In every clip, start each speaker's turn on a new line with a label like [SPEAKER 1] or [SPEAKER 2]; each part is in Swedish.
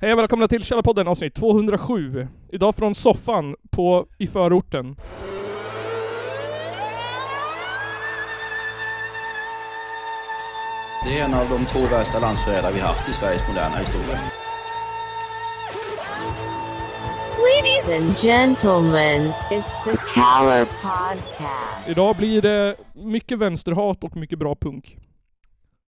[SPEAKER 1] Hej och välkomna till Källarpodden avsnitt 207. Idag från soffan på, i förorten.
[SPEAKER 2] Det är en av de två värsta landsförrädare vi haft i Sveriges moderna historia.
[SPEAKER 3] Ladies and gentlemen, it's the Caller Podcast.
[SPEAKER 1] Idag blir det mycket vänsterhat och mycket bra punk.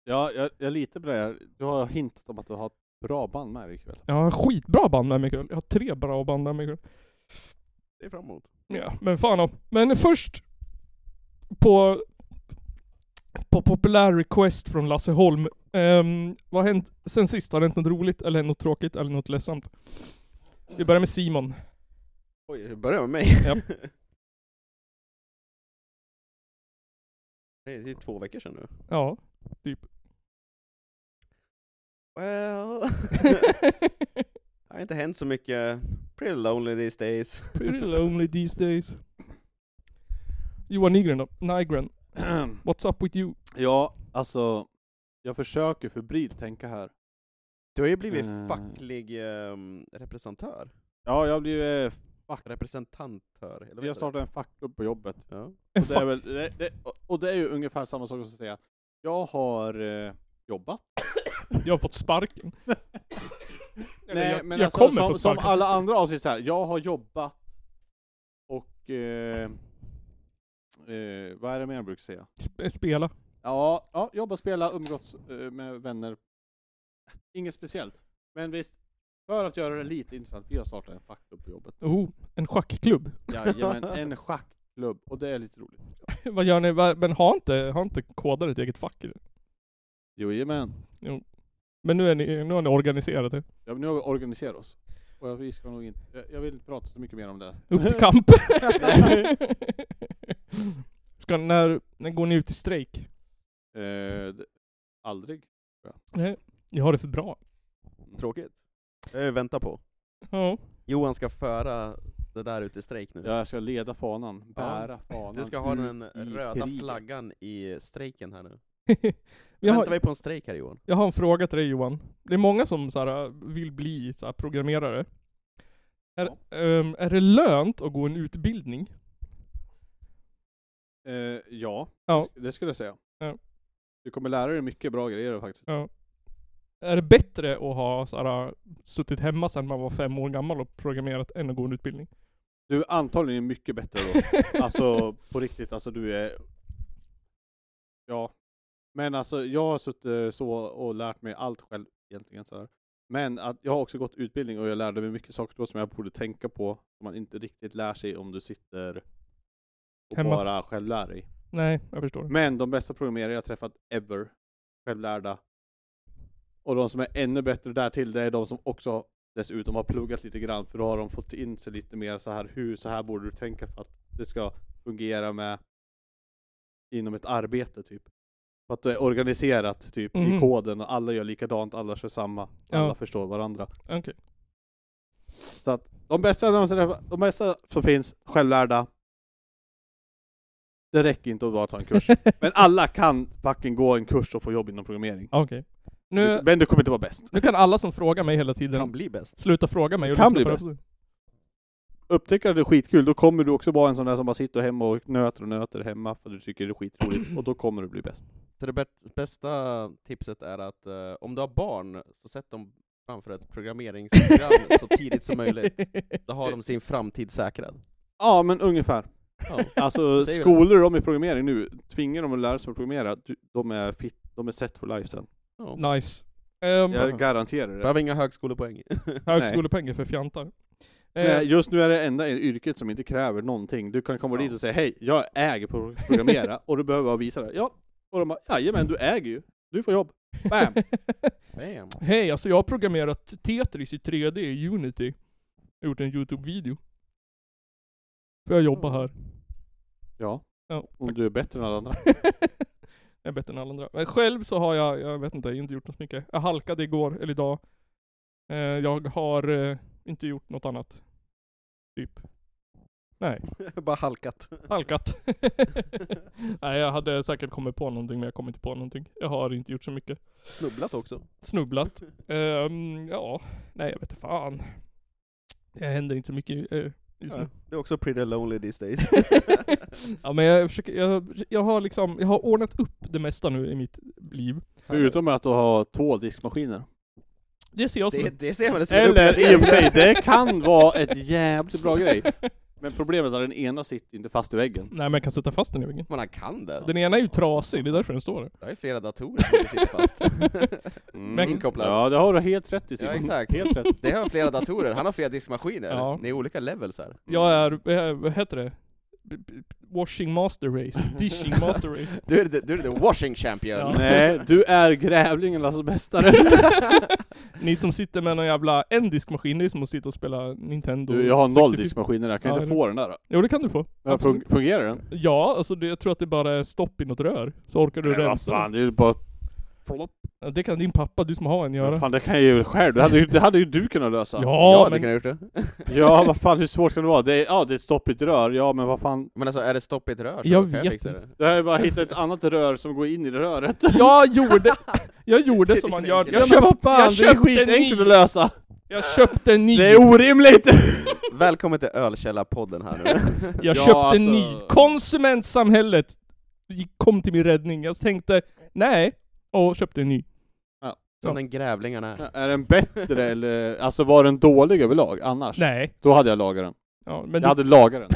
[SPEAKER 4] Ja, jag, jag litar på det här. Du har hintat om att du har ett bra band med dig ikväll.
[SPEAKER 1] Jag har skitbra band med mig ikväll. Jag har tre bra band med mig ikväll.
[SPEAKER 4] Det är fram emot.
[SPEAKER 1] Ja, men fan om. Men först på, på populär request från Lasse Holm. Ehm, vad har hänt sen sist? Har det hänt något roligt eller något tråkigt eller något ledsamt? Vi börjar med Simon.
[SPEAKER 5] Oj, det börjar med mig?
[SPEAKER 1] Japp.
[SPEAKER 5] Nej, det är två veckor sedan nu.
[SPEAKER 1] Ja, typ.
[SPEAKER 5] Well... det har inte hänt så mycket. Pretty lonely these days.
[SPEAKER 1] Pretty lonely these days. Johan Nygren då? Nygren. What's up with you?
[SPEAKER 4] ja, alltså. Jag försöker febrilt tänka här.
[SPEAKER 5] Du har ju blivit
[SPEAKER 4] Eh.
[SPEAKER 5] facklig ehm, representantör.
[SPEAKER 4] Ja, jag blev... eh,
[SPEAKER 5] Representantör, eller
[SPEAKER 4] Jag
[SPEAKER 5] vad heter det?
[SPEAKER 4] startade en fackklubb på jobbet.
[SPEAKER 5] Ja.
[SPEAKER 1] En
[SPEAKER 4] Och det, är
[SPEAKER 1] fa-
[SPEAKER 4] väl, det, det, och det är ju ungefär samma sak som att säga. Jag har eh, jobbat.
[SPEAKER 1] jag har fått sparken. Eller
[SPEAKER 4] Nej,
[SPEAKER 1] jag,
[SPEAKER 4] men
[SPEAKER 1] jag
[SPEAKER 4] alltså,
[SPEAKER 1] kommer
[SPEAKER 4] som,
[SPEAKER 1] få
[SPEAKER 4] som
[SPEAKER 1] sparken.
[SPEAKER 4] alla andra avsnitt så här. Jag har jobbat och... Eh, eh, vad är det mer jag brukar säga?
[SPEAKER 1] Sp- eh, Spela.
[SPEAKER 4] Ja, ja jobba, spela, umgås eh, med vänner. Inget speciellt. Men visst, för att göra det lite intressant, vi har startat en fackklubb på jobbet.
[SPEAKER 1] Oh, en schackklubb.
[SPEAKER 4] Jajamän, en schackklubb. Och det är lite roligt.
[SPEAKER 1] Vad gör ni? Va- Men har inte, har inte kodare ett eget fack? eller?
[SPEAKER 4] Jo, jajamän.
[SPEAKER 1] Men nu är ni, nu har ni organiserat det.
[SPEAKER 4] Ja, men nu har vi organiserat oss. Och jag, vi ska nog inte, jag, jag vill inte prata så mycket mer om det.
[SPEAKER 1] Upp till kamp. Ska, när, när går ni ut i strejk?
[SPEAKER 4] Eh, d- aldrig. Mm.
[SPEAKER 1] Nej, jag har det för bra.
[SPEAKER 5] Tråkigt. Det har jag väntat på.
[SPEAKER 1] Ja.
[SPEAKER 5] Johan ska föra det där ut i strejk nu.
[SPEAKER 4] Ja, jag ska leda fanan. Bära fanan.
[SPEAKER 5] Du ska ha den
[SPEAKER 4] ut i
[SPEAKER 5] röda
[SPEAKER 4] kriget.
[SPEAKER 5] flaggan i strejken här nu.
[SPEAKER 1] Jag har,
[SPEAKER 5] Väntar vi på en strejk här Johan?
[SPEAKER 1] Jag har en fråga till dig Johan. Det är många som så här, äh, vill bli så här, programmerare. Är, ehm, är det lönt att gå en utbildning?
[SPEAKER 4] Eh, ja,
[SPEAKER 1] Ja.
[SPEAKER 4] det skulle jag säga.
[SPEAKER 1] Ja.
[SPEAKER 4] Du kommer lära dig mycket bra grejer faktiskt.
[SPEAKER 1] Är det bättre att ha så här, äh, suttit hemma sedan man var fem år gammal och programmerat än att gå en utbildning?
[SPEAKER 4] Du är antagligen mycket bättre då. Alltså på riktigt, alltså du är... Ja. Men alltså jag har suttit så och lärt mig allt själv egentligen. Så här. Men att jag har också gått utbildning och jag lärde mig mycket saker då som jag borde tänka på. Som man inte riktigt lär sig om du sitter och
[SPEAKER 1] Hemma.
[SPEAKER 4] bara själv lär dig.
[SPEAKER 1] Nej, jag förstår.
[SPEAKER 4] Men de bästa programmerare jag träffat ever, självlärda. Och de som är ännu bättre där till det är de som också dessutom har pluggat lite grann för då har de fått in sig lite mer så här hur, så här borde du tänka för att det ska fungera med inom ett arbete typ. För att det är organiserat typ
[SPEAKER 1] Mhm.
[SPEAKER 4] i koden och alla gör likadant, alla kör samma,
[SPEAKER 1] Ja.
[SPEAKER 4] alla förstår varandra.
[SPEAKER 1] Okej.
[SPEAKER 4] Så att de bästa, de som, träffar- de bästa som finns, självlärda. Det räcker inte att bara ta en kurs. Men alla kan fucking gå en kurs och få jobb inom programmering.
[SPEAKER 1] Okej. Nu,
[SPEAKER 4] Men du kommer inte vara bäst.
[SPEAKER 1] nu kan alla som frågar mig hela tiden
[SPEAKER 5] Kan bli bäst.
[SPEAKER 1] sluta fråga mig. Och
[SPEAKER 4] Kan
[SPEAKER 1] lyssna
[SPEAKER 4] bli
[SPEAKER 1] på
[SPEAKER 4] bäst.
[SPEAKER 1] det.
[SPEAKER 4] Upptäcker du det är skitkul, då kommer du också vara en sån där som bara sitter hemma och nöter och nöter hemma för att du tycker det är skitroligt. Och då kommer du bli bäst.
[SPEAKER 5] Så det bäst- bästa tipset är att eh, om du har barn, så sätt dem framför ett programmeringsprogram så tidigt som möjligt. Då har de sin framtid säkrad.
[SPEAKER 4] Ja, men ungefär.
[SPEAKER 5] Ja.
[SPEAKER 4] Alltså
[SPEAKER 5] Säger vi.
[SPEAKER 4] skolor de i programmering nu, tvingar dem att lära sig att programmera, du- de är fit, de är set for life sen.
[SPEAKER 5] Ja.
[SPEAKER 1] Nice. Um,
[SPEAKER 4] Jag garanterar det.
[SPEAKER 5] Behöver inga högskolepoäng.
[SPEAKER 1] högskolepengar för fjantar. Eh,
[SPEAKER 4] Nej, just nu är det enda yrket som inte kräver någonting. Du kan komma
[SPEAKER 5] Ja.
[SPEAKER 4] dit och säga hej, jag äger pro- programmera och du behöver bara visa det. Ja, och de bara jajamän, du äger ju. Du får jobb. Bam!
[SPEAKER 5] Bam.
[SPEAKER 1] Hej, alltså jag har programmerat Tetris i 3D i Unity. Jag har gjort en YouTube-video. För jag
[SPEAKER 3] Mm.
[SPEAKER 1] jobbar här.
[SPEAKER 4] Ja,
[SPEAKER 1] Ja,
[SPEAKER 4] om du är bättre än alla andra.
[SPEAKER 1] jag är bättre än alla andra. Men själv så har jag, jag vet inte, jag har inte gjort något mycket. Jag halkade igår, eller idag. Eh, Jag har eh, inte gjort något annat. Typ. Nej.
[SPEAKER 5] Bara halkat.
[SPEAKER 1] Halkat. Nej, jag hade säkert kommit på någonting men jag kom inte på någonting. Jag har inte gjort så mycket.
[SPEAKER 5] Snubblat också.
[SPEAKER 1] Snubblat. Ehm, ja, nej jag vet inte fan. Det händer inte så mycket eh, just nu.
[SPEAKER 5] Ja, det är också pretty lonely these days.
[SPEAKER 1] ja men jag försöker, jag, jag har liksom, jag har ordnat upp det mesta nu i mitt liv.
[SPEAKER 4] Utom att ha två diskmaskiner.
[SPEAKER 1] Det ser jag som
[SPEAKER 5] det,
[SPEAKER 1] ett-
[SPEAKER 5] det ser man som en
[SPEAKER 4] Eller i och för sig,
[SPEAKER 5] uppgradering.
[SPEAKER 4] det kan vara ett jävligt bra grej. Men problemet är att den ena sitter inte fast i väggen.
[SPEAKER 1] Nej men jag kan sätta fast den i väggen.
[SPEAKER 5] Man han kan det.
[SPEAKER 1] Den ena är ju trasig, det är därför den står där.
[SPEAKER 5] Jag har ju flera datorer som sitter fast.
[SPEAKER 1] Men-
[SPEAKER 5] Inkopplad.
[SPEAKER 4] Mm. Ja, det har du helt rätt i Simon.
[SPEAKER 5] Ja, exakt.
[SPEAKER 4] Helt rätt.
[SPEAKER 5] Det har flera datorer, han har flera diskmaskiner.
[SPEAKER 1] Ja.
[SPEAKER 5] Ni är olika levels här.
[SPEAKER 1] Jag är, eh, vad heter det? B- b- Washing master race, dishing master race.
[SPEAKER 5] Du är, the- du är the washing champion.
[SPEAKER 1] Ja.
[SPEAKER 4] Nej, du är grävlingen Lasse Bästare.
[SPEAKER 1] Ni som sitter med någon jävla en diskmaskin, det är som att sitta och spela Nintendo.
[SPEAKER 4] Du, jag har noll
[SPEAKER 1] 64.
[SPEAKER 4] diskmaskiner, jag kan
[SPEAKER 1] Ja,
[SPEAKER 4] inte
[SPEAKER 1] det-
[SPEAKER 4] få den där.
[SPEAKER 1] Jo det kan du få.
[SPEAKER 4] Ja,
[SPEAKER 1] Absolut.
[SPEAKER 4] fun- fungerar den?
[SPEAKER 1] Ja, alltså det, jag tror att det bara är stopp i något rör. Så orkar du
[SPEAKER 4] Nej, vad
[SPEAKER 1] rensa.
[SPEAKER 4] fan,
[SPEAKER 1] den.
[SPEAKER 4] det är ju bara...
[SPEAKER 1] Ja, Det kan din pappa, du som har en, göra.
[SPEAKER 4] Fan, det kan jag ju själv. Det hade ju, det hade ju du kunnat lösa.
[SPEAKER 1] Ja,
[SPEAKER 5] det
[SPEAKER 1] men
[SPEAKER 5] kan jag ha gjort det.
[SPEAKER 4] Ja, vad fan, hur svårt kan det vara? Det är, ja, det är ett stoppigt rör, ja men vad fan.
[SPEAKER 5] Men alltså, är det stopp i ett rör så
[SPEAKER 1] Jag
[SPEAKER 5] kan
[SPEAKER 1] vet
[SPEAKER 5] jag fixa det.
[SPEAKER 4] Det här är bara att hitta ett annat rör som går in i röret.
[SPEAKER 1] jag gjorde, jag gjorde som man gör.
[SPEAKER 5] Ja,
[SPEAKER 1] Jag
[SPEAKER 4] men
[SPEAKER 1] köpte,
[SPEAKER 4] vad fan,
[SPEAKER 1] jag
[SPEAKER 4] det är
[SPEAKER 1] köpte
[SPEAKER 4] skitenkelt
[SPEAKER 1] en
[SPEAKER 4] att
[SPEAKER 1] ny.
[SPEAKER 4] lösa!
[SPEAKER 1] Jag köpte en ny.
[SPEAKER 4] Det är orimligt!
[SPEAKER 5] Välkommen till Ölkällarpodden här nu.
[SPEAKER 1] Jag
[SPEAKER 4] Ja,
[SPEAKER 1] köpte
[SPEAKER 4] alltså-
[SPEAKER 1] en ny. Konsumentsamhället gick- kom till min räddning. Jag tänkte, nej, och köpte en ny.
[SPEAKER 5] Som den grävlingen är.
[SPEAKER 4] är den bättre eller, alltså var den dålig överlag annars?
[SPEAKER 1] Nej.
[SPEAKER 4] Då hade jag lagat den.
[SPEAKER 1] Ja, men
[SPEAKER 4] Jag
[SPEAKER 1] du,
[SPEAKER 4] hade lagat den.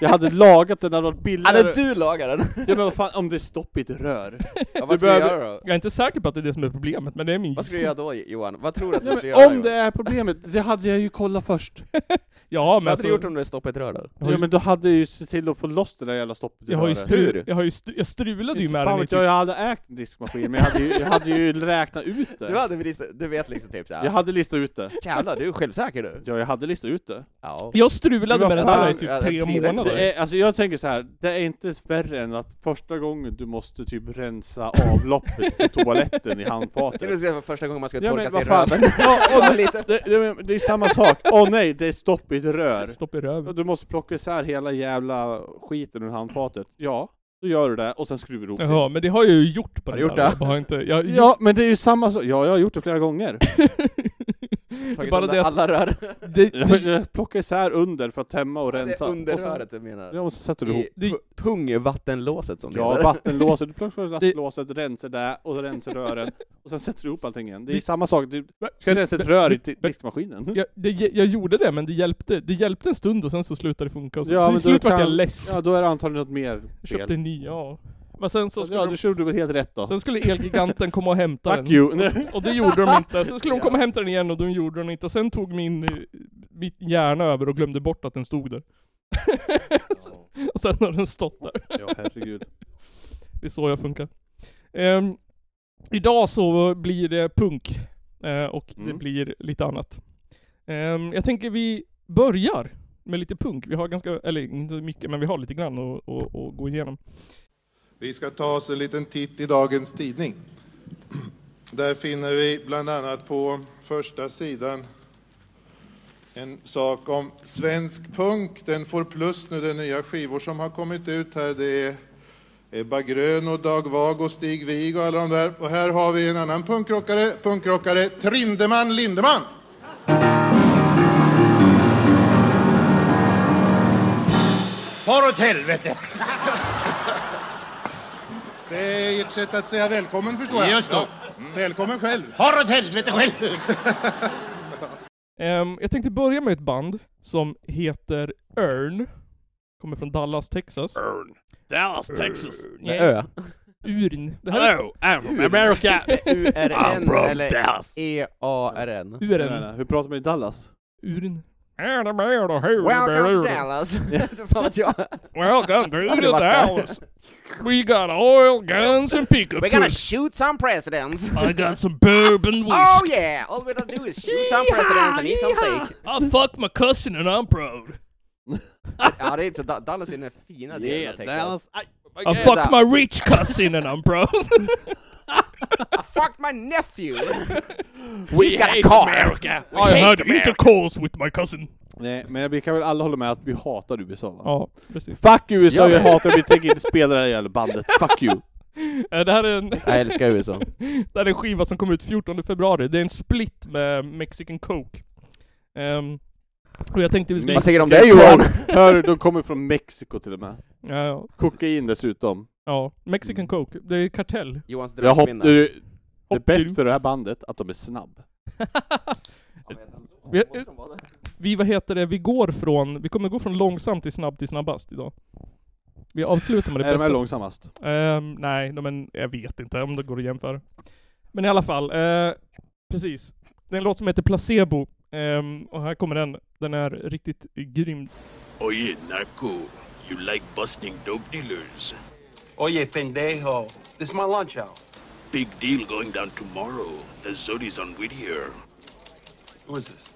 [SPEAKER 4] Jag hade lagat den, det hade varit
[SPEAKER 5] Hade
[SPEAKER 4] billigare.
[SPEAKER 5] du lagat den?
[SPEAKER 4] Ja men vad fan, om det är stopp i ett rör.
[SPEAKER 5] Ja,
[SPEAKER 4] Du
[SPEAKER 5] vad skulle du
[SPEAKER 4] behöver-
[SPEAKER 5] göra då?
[SPEAKER 1] jag är inte säker på att det är det som är problemet, men det är min
[SPEAKER 5] Vad skulle du göra då Johan? Vad tror du att du
[SPEAKER 4] Ja,
[SPEAKER 5] skulle göra?
[SPEAKER 4] men, om det
[SPEAKER 5] Johan?
[SPEAKER 4] är problemet, det hade jag ju kollat först.
[SPEAKER 1] Ja, men
[SPEAKER 5] Vad hade
[SPEAKER 1] alltså,
[SPEAKER 5] du gjort om du stoppat ett rör då?
[SPEAKER 1] Jag har ju-
[SPEAKER 4] Ja men då hade jag ju sett till att få loss det där jävla stoppet i
[SPEAKER 1] jag har ju
[SPEAKER 4] röret.
[SPEAKER 1] stru,
[SPEAKER 5] Hur?
[SPEAKER 1] jag har ju stru, jag strulade ju
[SPEAKER 4] Inte
[SPEAKER 1] med
[SPEAKER 4] fan
[SPEAKER 1] den i
[SPEAKER 4] vet
[SPEAKER 1] typ
[SPEAKER 4] jag, jag hade ägt en diskmaskin, men jag hade ju, jag hade ju räknat ut
[SPEAKER 5] Du,
[SPEAKER 4] det.
[SPEAKER 5] hade, visst- du vet liksom typ
[SPEAKER 4] Jag
[SPEAKER 5] såhär,
[SPEAKER 4] hade listat ut det.
[SPEAKER 5] jävlar du är självsäker du.
[SPEAKER 4] Ja, jag hade listat ut det.
[SPEAKER 5] Ja.
[SPEAKER 1] Jag strulade
[SPEAKER 4] Men
[SPEAKER 1] med
[SPEAKER 4] vad
[SPEAKER 1] den här i
[SPEAKER 4] fan,
[SPEAKER 1] typ
[SPEAKER 5] jag-
[SPEAKER 1] tre
[SPEAKER 5] jag tvivlar inte på
[SPEAKER 1] månader.
[SPEAKER 4] det är, alltså jag tänker så här. det är inte värre än att första gången du måste typ rensa avloppet på toaletten i
[SPEAKER 5] Det är
[SPEAKER 4] handfatet.
[SPEAKER 5] det första gången man ska
[SPEAKER 4] Ja,
[SPEAKER 5] torka
[SPEAKER 4] men
[SPEAKER 5] sig i
[SPEAKER 4] vad fan.
[SPEAKER 5] röven.
[SPEAKER 4] Ja, och
[SPEAKER 5] Bara
[SPEAKER 4] det,
[SPEAKER 5] lite.
[SPEAKER 4] det, det, det är samma sak. Åh nej, det är stopp i ett rör.
[SPEAKER 1] Stopp i röven.
[SPEAKER 4] Och Du måste plocka isär hela jävla skiten ur handfatet. Ja, då gör du det och sen skruvar du ihop det.
[SPEAKER 1] Jaha, men det har jag ju gjort på
[SPEAKER 5] Har
[SPEAKER 1] den
[SPEAKER 5] du gjort
[SPEAKER 1] där.
[SPEAKER 5] det?
[SPEAKER 1] Jag bara inte, jag,
[SPEAKER 4] Ja, men det är ju samma sak. Ja, jag har gjort det flera gånger.
[SPEAKER 5] Tagit
[SPEAKER 1] bara
[SPEAKER 5] sönder
[SPEAKER 1] det att-
[SPEAKER 5] alla rör.
[SPEAKER 1] det,
[SPEAKER 4] Jag vill-
[SPEAKER 1] det,
[SPEAKER 4] jag plockar isär under för att tämma och
[SPEAKER 5] Det
[SPEAKER 4] rensa.
[SPEAKER 5] är under
[SPEAKER 4] Och sen-
[SPEAKER 5] röret du menar.
[SPEAKER 4] Ja, och så sätter du ihop.
[SPEAKER 5] I pu- pungvattenlåset som det
[SPEAKER 4] Ja,
[SPEAKER 5] heter.
[SPEAKER 4] vattenlåset. Du plockar lastlåset, rensar det och rensar rören. Och sen sätter du ihop allting igen. Det är
[SPEAKER 1] Det-
[SPEAKER 4] samma sak. Du ska rensa ett rör i di- diskmaskinen.
[SPEAKER 1] jag, det, jag gjorde det men det hjälpte, det hjälpte en stund och sen så slutade det funka. Och så,
[SPEAKER 4] Ja,
[SPEAKER 1] så
[SPEAKER 4] men
[SPEAKER 1] till
[SPEAKER 4] du
[SPEAKER 1] slut vart jag
[SPEAKER 4] kan-
[SPEAKER 1] less.
[SPEAKER 4] Ja, då är det antagligen något mer
[SPEAKER 1] jag
[SPEAKER 4] fel.
[SPEAKER 1] köpte en ny, ja. Men sen så skulle,
[SPEAKER 4] Ja, du körde väl helt rätt
[SPEAKER 1] de,
[SPEAKER 4] då.
[SPEAKER 1] sen skulle Elgiganten komma och hämta
[SPEAKER 4] Fuck
[SPEAKER 1] den.
[SPEAKER 4] you! Nej.
[SPEAKER 1] Och det gjorde de inte. Sen skulle de komma och hämta den igen och de gjorde den inte. Och sen tog min, eh, min hjärna över och glömde bort att den stod där. och sen har den stått där.
[SPEAKER 4] Ja, herregud.
[SPEAKER 1] Det är så jag funkar. Ehm, idag så blir det punk. eh, och det
[SPEAKER 4] Mm.
[SPEAKER 1] blir lite annat. Ehm, jag tänker vi börjar med lite punk. Vi har ganska, eller inte mycket, men vi har lite grann att att- att gå igenom.
[SPEAKER 6] Vi ska ta oss en liten titt i dagens tidning. Där finner vi bland annat på första sidan en sak om svensk punk. Den får plus nu, det är nya skivor som har kommit ut här. Det är Ebba Grön och Dag Vag och Stig Wig och alla de där. Och här har vi en annan punkrockare, punkrockare Trindeman Lindeman.
[SPEAKER 7] Far åt helvete!
[SPEAKER 6] Det är ert sätt att säga välkommen förstår jag.
[SPEAKER 7] Just det.
[SPEAKER 6] Ja. Välkommen själv.
[SPEAKER 7] Far åt helvete själv!
[SPEAKER 1] Ehm, jag tänkte börja med ett band som heter Earn. Kommer från Dallas, Texas.
[SPEAKER 4] Dallas, Texas!
[SPEAKER 5] Med ö.
[SPEAKER 1] Urn. Det här är
[SPEAKER 4] I'm from America!
[SPEAKER 5] U-R-N eller E
[SPEAKER 4] Dallas!
[SPEAKER 5] E-A-R-N.
[SPEAKER 1] Urn.
[SPEAKER 4] Hur pratar man i Dallas?
[SPEAKER 1] Urn. Är det med då? Hur
[SPEAKER 5] Welcome to
[SPEAKER 1] är det?
[SPEAKER 5] Dallas! Fan vet jag.
[SPEAKER 1] Welcome to
[SPEAKER 5] du
[SPEAKER 1] the
[SPEAKER 5] varit där?
[SPEAKER 1] Dallas. We got oil, guns and pickup
[SPEAKER 5] We're gonna
[SPEAKER 1] trucks.
[SPEAKER 5] shoot some presidents!
[SPEAKER 1] I got some bourbon
[SPEAKER 5] Oh
[SPEAKER 1] whiskey.
[SPEAKER 5] yeah! All we gonna do is shoot some presidents and eat some steak!
[SPEAKER 1] I fucked my cousin and I'm proud.
[SPEAKER 5] Ja, det är inte så. Da- Dallas är den fina delen av Texas.
[SPEAKER 1] I fucked my rich cousin and I'm proud.
[SPEAKER 5] I fucked my nephew! She's got a car!
[SPEAKER 1] I had intercourse with my cousin.
[SPEAKER 4] Nej, men vi kan väl alla hålla med att vi hatar USA va?
[SPEAKER 1] Ja, precis.
[SPEAKER 4] Fuck USA,
[SPEAKER 5] Ja.
[SPEAKER 4] vi hatar, vi tänker inte spela det här jävla bandet. Fuck you!
[SPEAKER 1] Eh, Det här, är en,
[SPEAKER 5] Jag älskar USA.
[SPEAKER 1] det här är en skiva som kom ut 14 februari. Det är en split med Mexican Coke. Ehm, och jag tänkte vi skulle...
[SPEAKER 5] Vad säger du om
[SPEAKER 4] Mexican
[SPEAKER 5] det, Johan?
[SPEAKER 4] Coke. Hör du, de kommer från Mexiko till och med.
[SPEAKER 1] Ja, ja,
[SPEAKER 4] Kokain dessutom.
[SPEAKER 1] ja, Mexican Coke. Det är kartell.
[SPEAKER 5] Johans
[SPEAKER 4] Jag hopp,
[SPEAKER 5] drömkvinna.
[SPEAKER 4] det är
[SPEAKER 1] Hopp-
[SPEAKER 4] bäst för det här bandet att de är snabb.
[SPEAKER 1] Vi, vi, vad heter det, vi går från, vi kommer gå från långsamt till snabb till snabbast idag. Vi avslutar med det
[SPEAKER 4] är de
[SPEAKER 1] bästa.
[SPEAKER 4] här långsammast?
[SPEAKER 1] Ehm, nej, de- men jag vet inte om det går att jämföra. Men i alla fall, eh, precis. Det är en låt som heter Placebo, ehm, och här kommer den. Den är riktigt grym.
[SPEAKER 8] Oye, narco, you like busting dope dealers.
[SPEAKER 7] Oye, pendejo. This is my lunch hour.
[SPEAKER 8] Big deal going down tomorrow. The Zodi's on Whittier.
[SPEAKER 7] Who is this?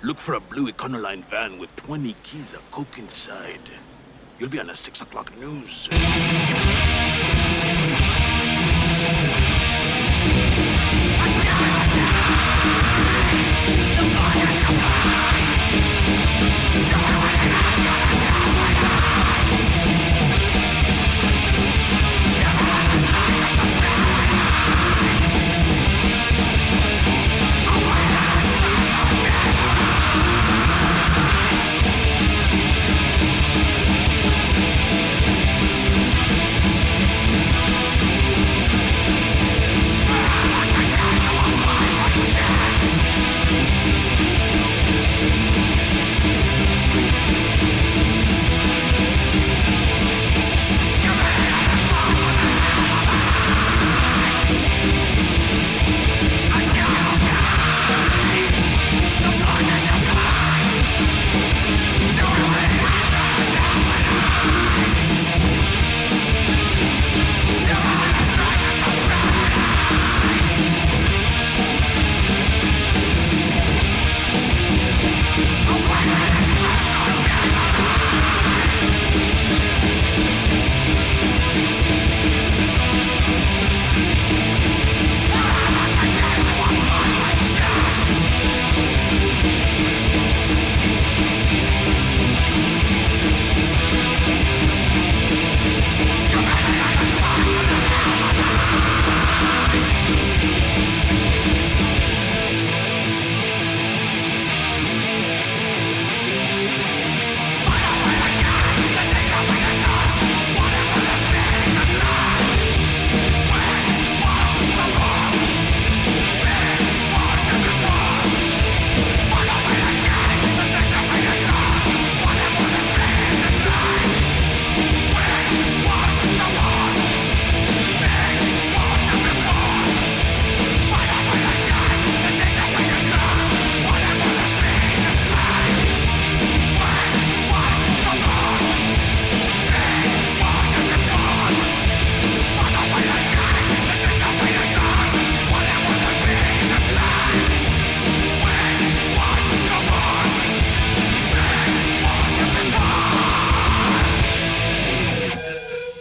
[SPEAKER 8] Look for a blue Econoline van with 20 keys of coke inside. You'll be on the 6 o'clock news.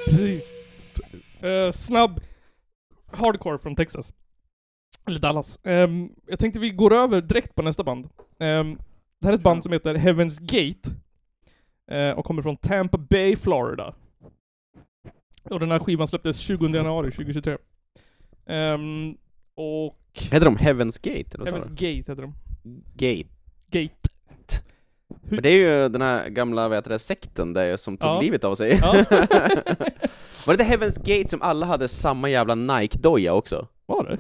[SPEAKER 1] Precis. Eh, snabb hardcore från Texas. Eller Dallas. Ehm, jag tänkte vi går över direkt på nästa band. Ehm, det här är ett band som heter Heaven's Gate. eh, och kommer från Tampa Bay, Florida. Och den här skivan släpptes 20 januari 2023. Ehm, och
[SPEAKER 5] Heter de Heaven's Gate? Eller
[SPEAKER 1] Heaven's
[SPEAKER 5] Heaven's...
[SPEAKER 1] Gate heter de.
[SPEAKER 5] Gate.
[SPEAKER 1] Gate.
[SPEAKER 5] Men det är ju den här gamla, vad heter det, sekten där som tog
[SPEAKER 1] Ja.
[SPEAKER 5] livet av sig.
[SPEAKER 1] Ja.
[SPEAKER 5] Var det inte Heaven's Gate som alla hade samma jävla Nike-doja också?
[SPEAKER 1] Var det?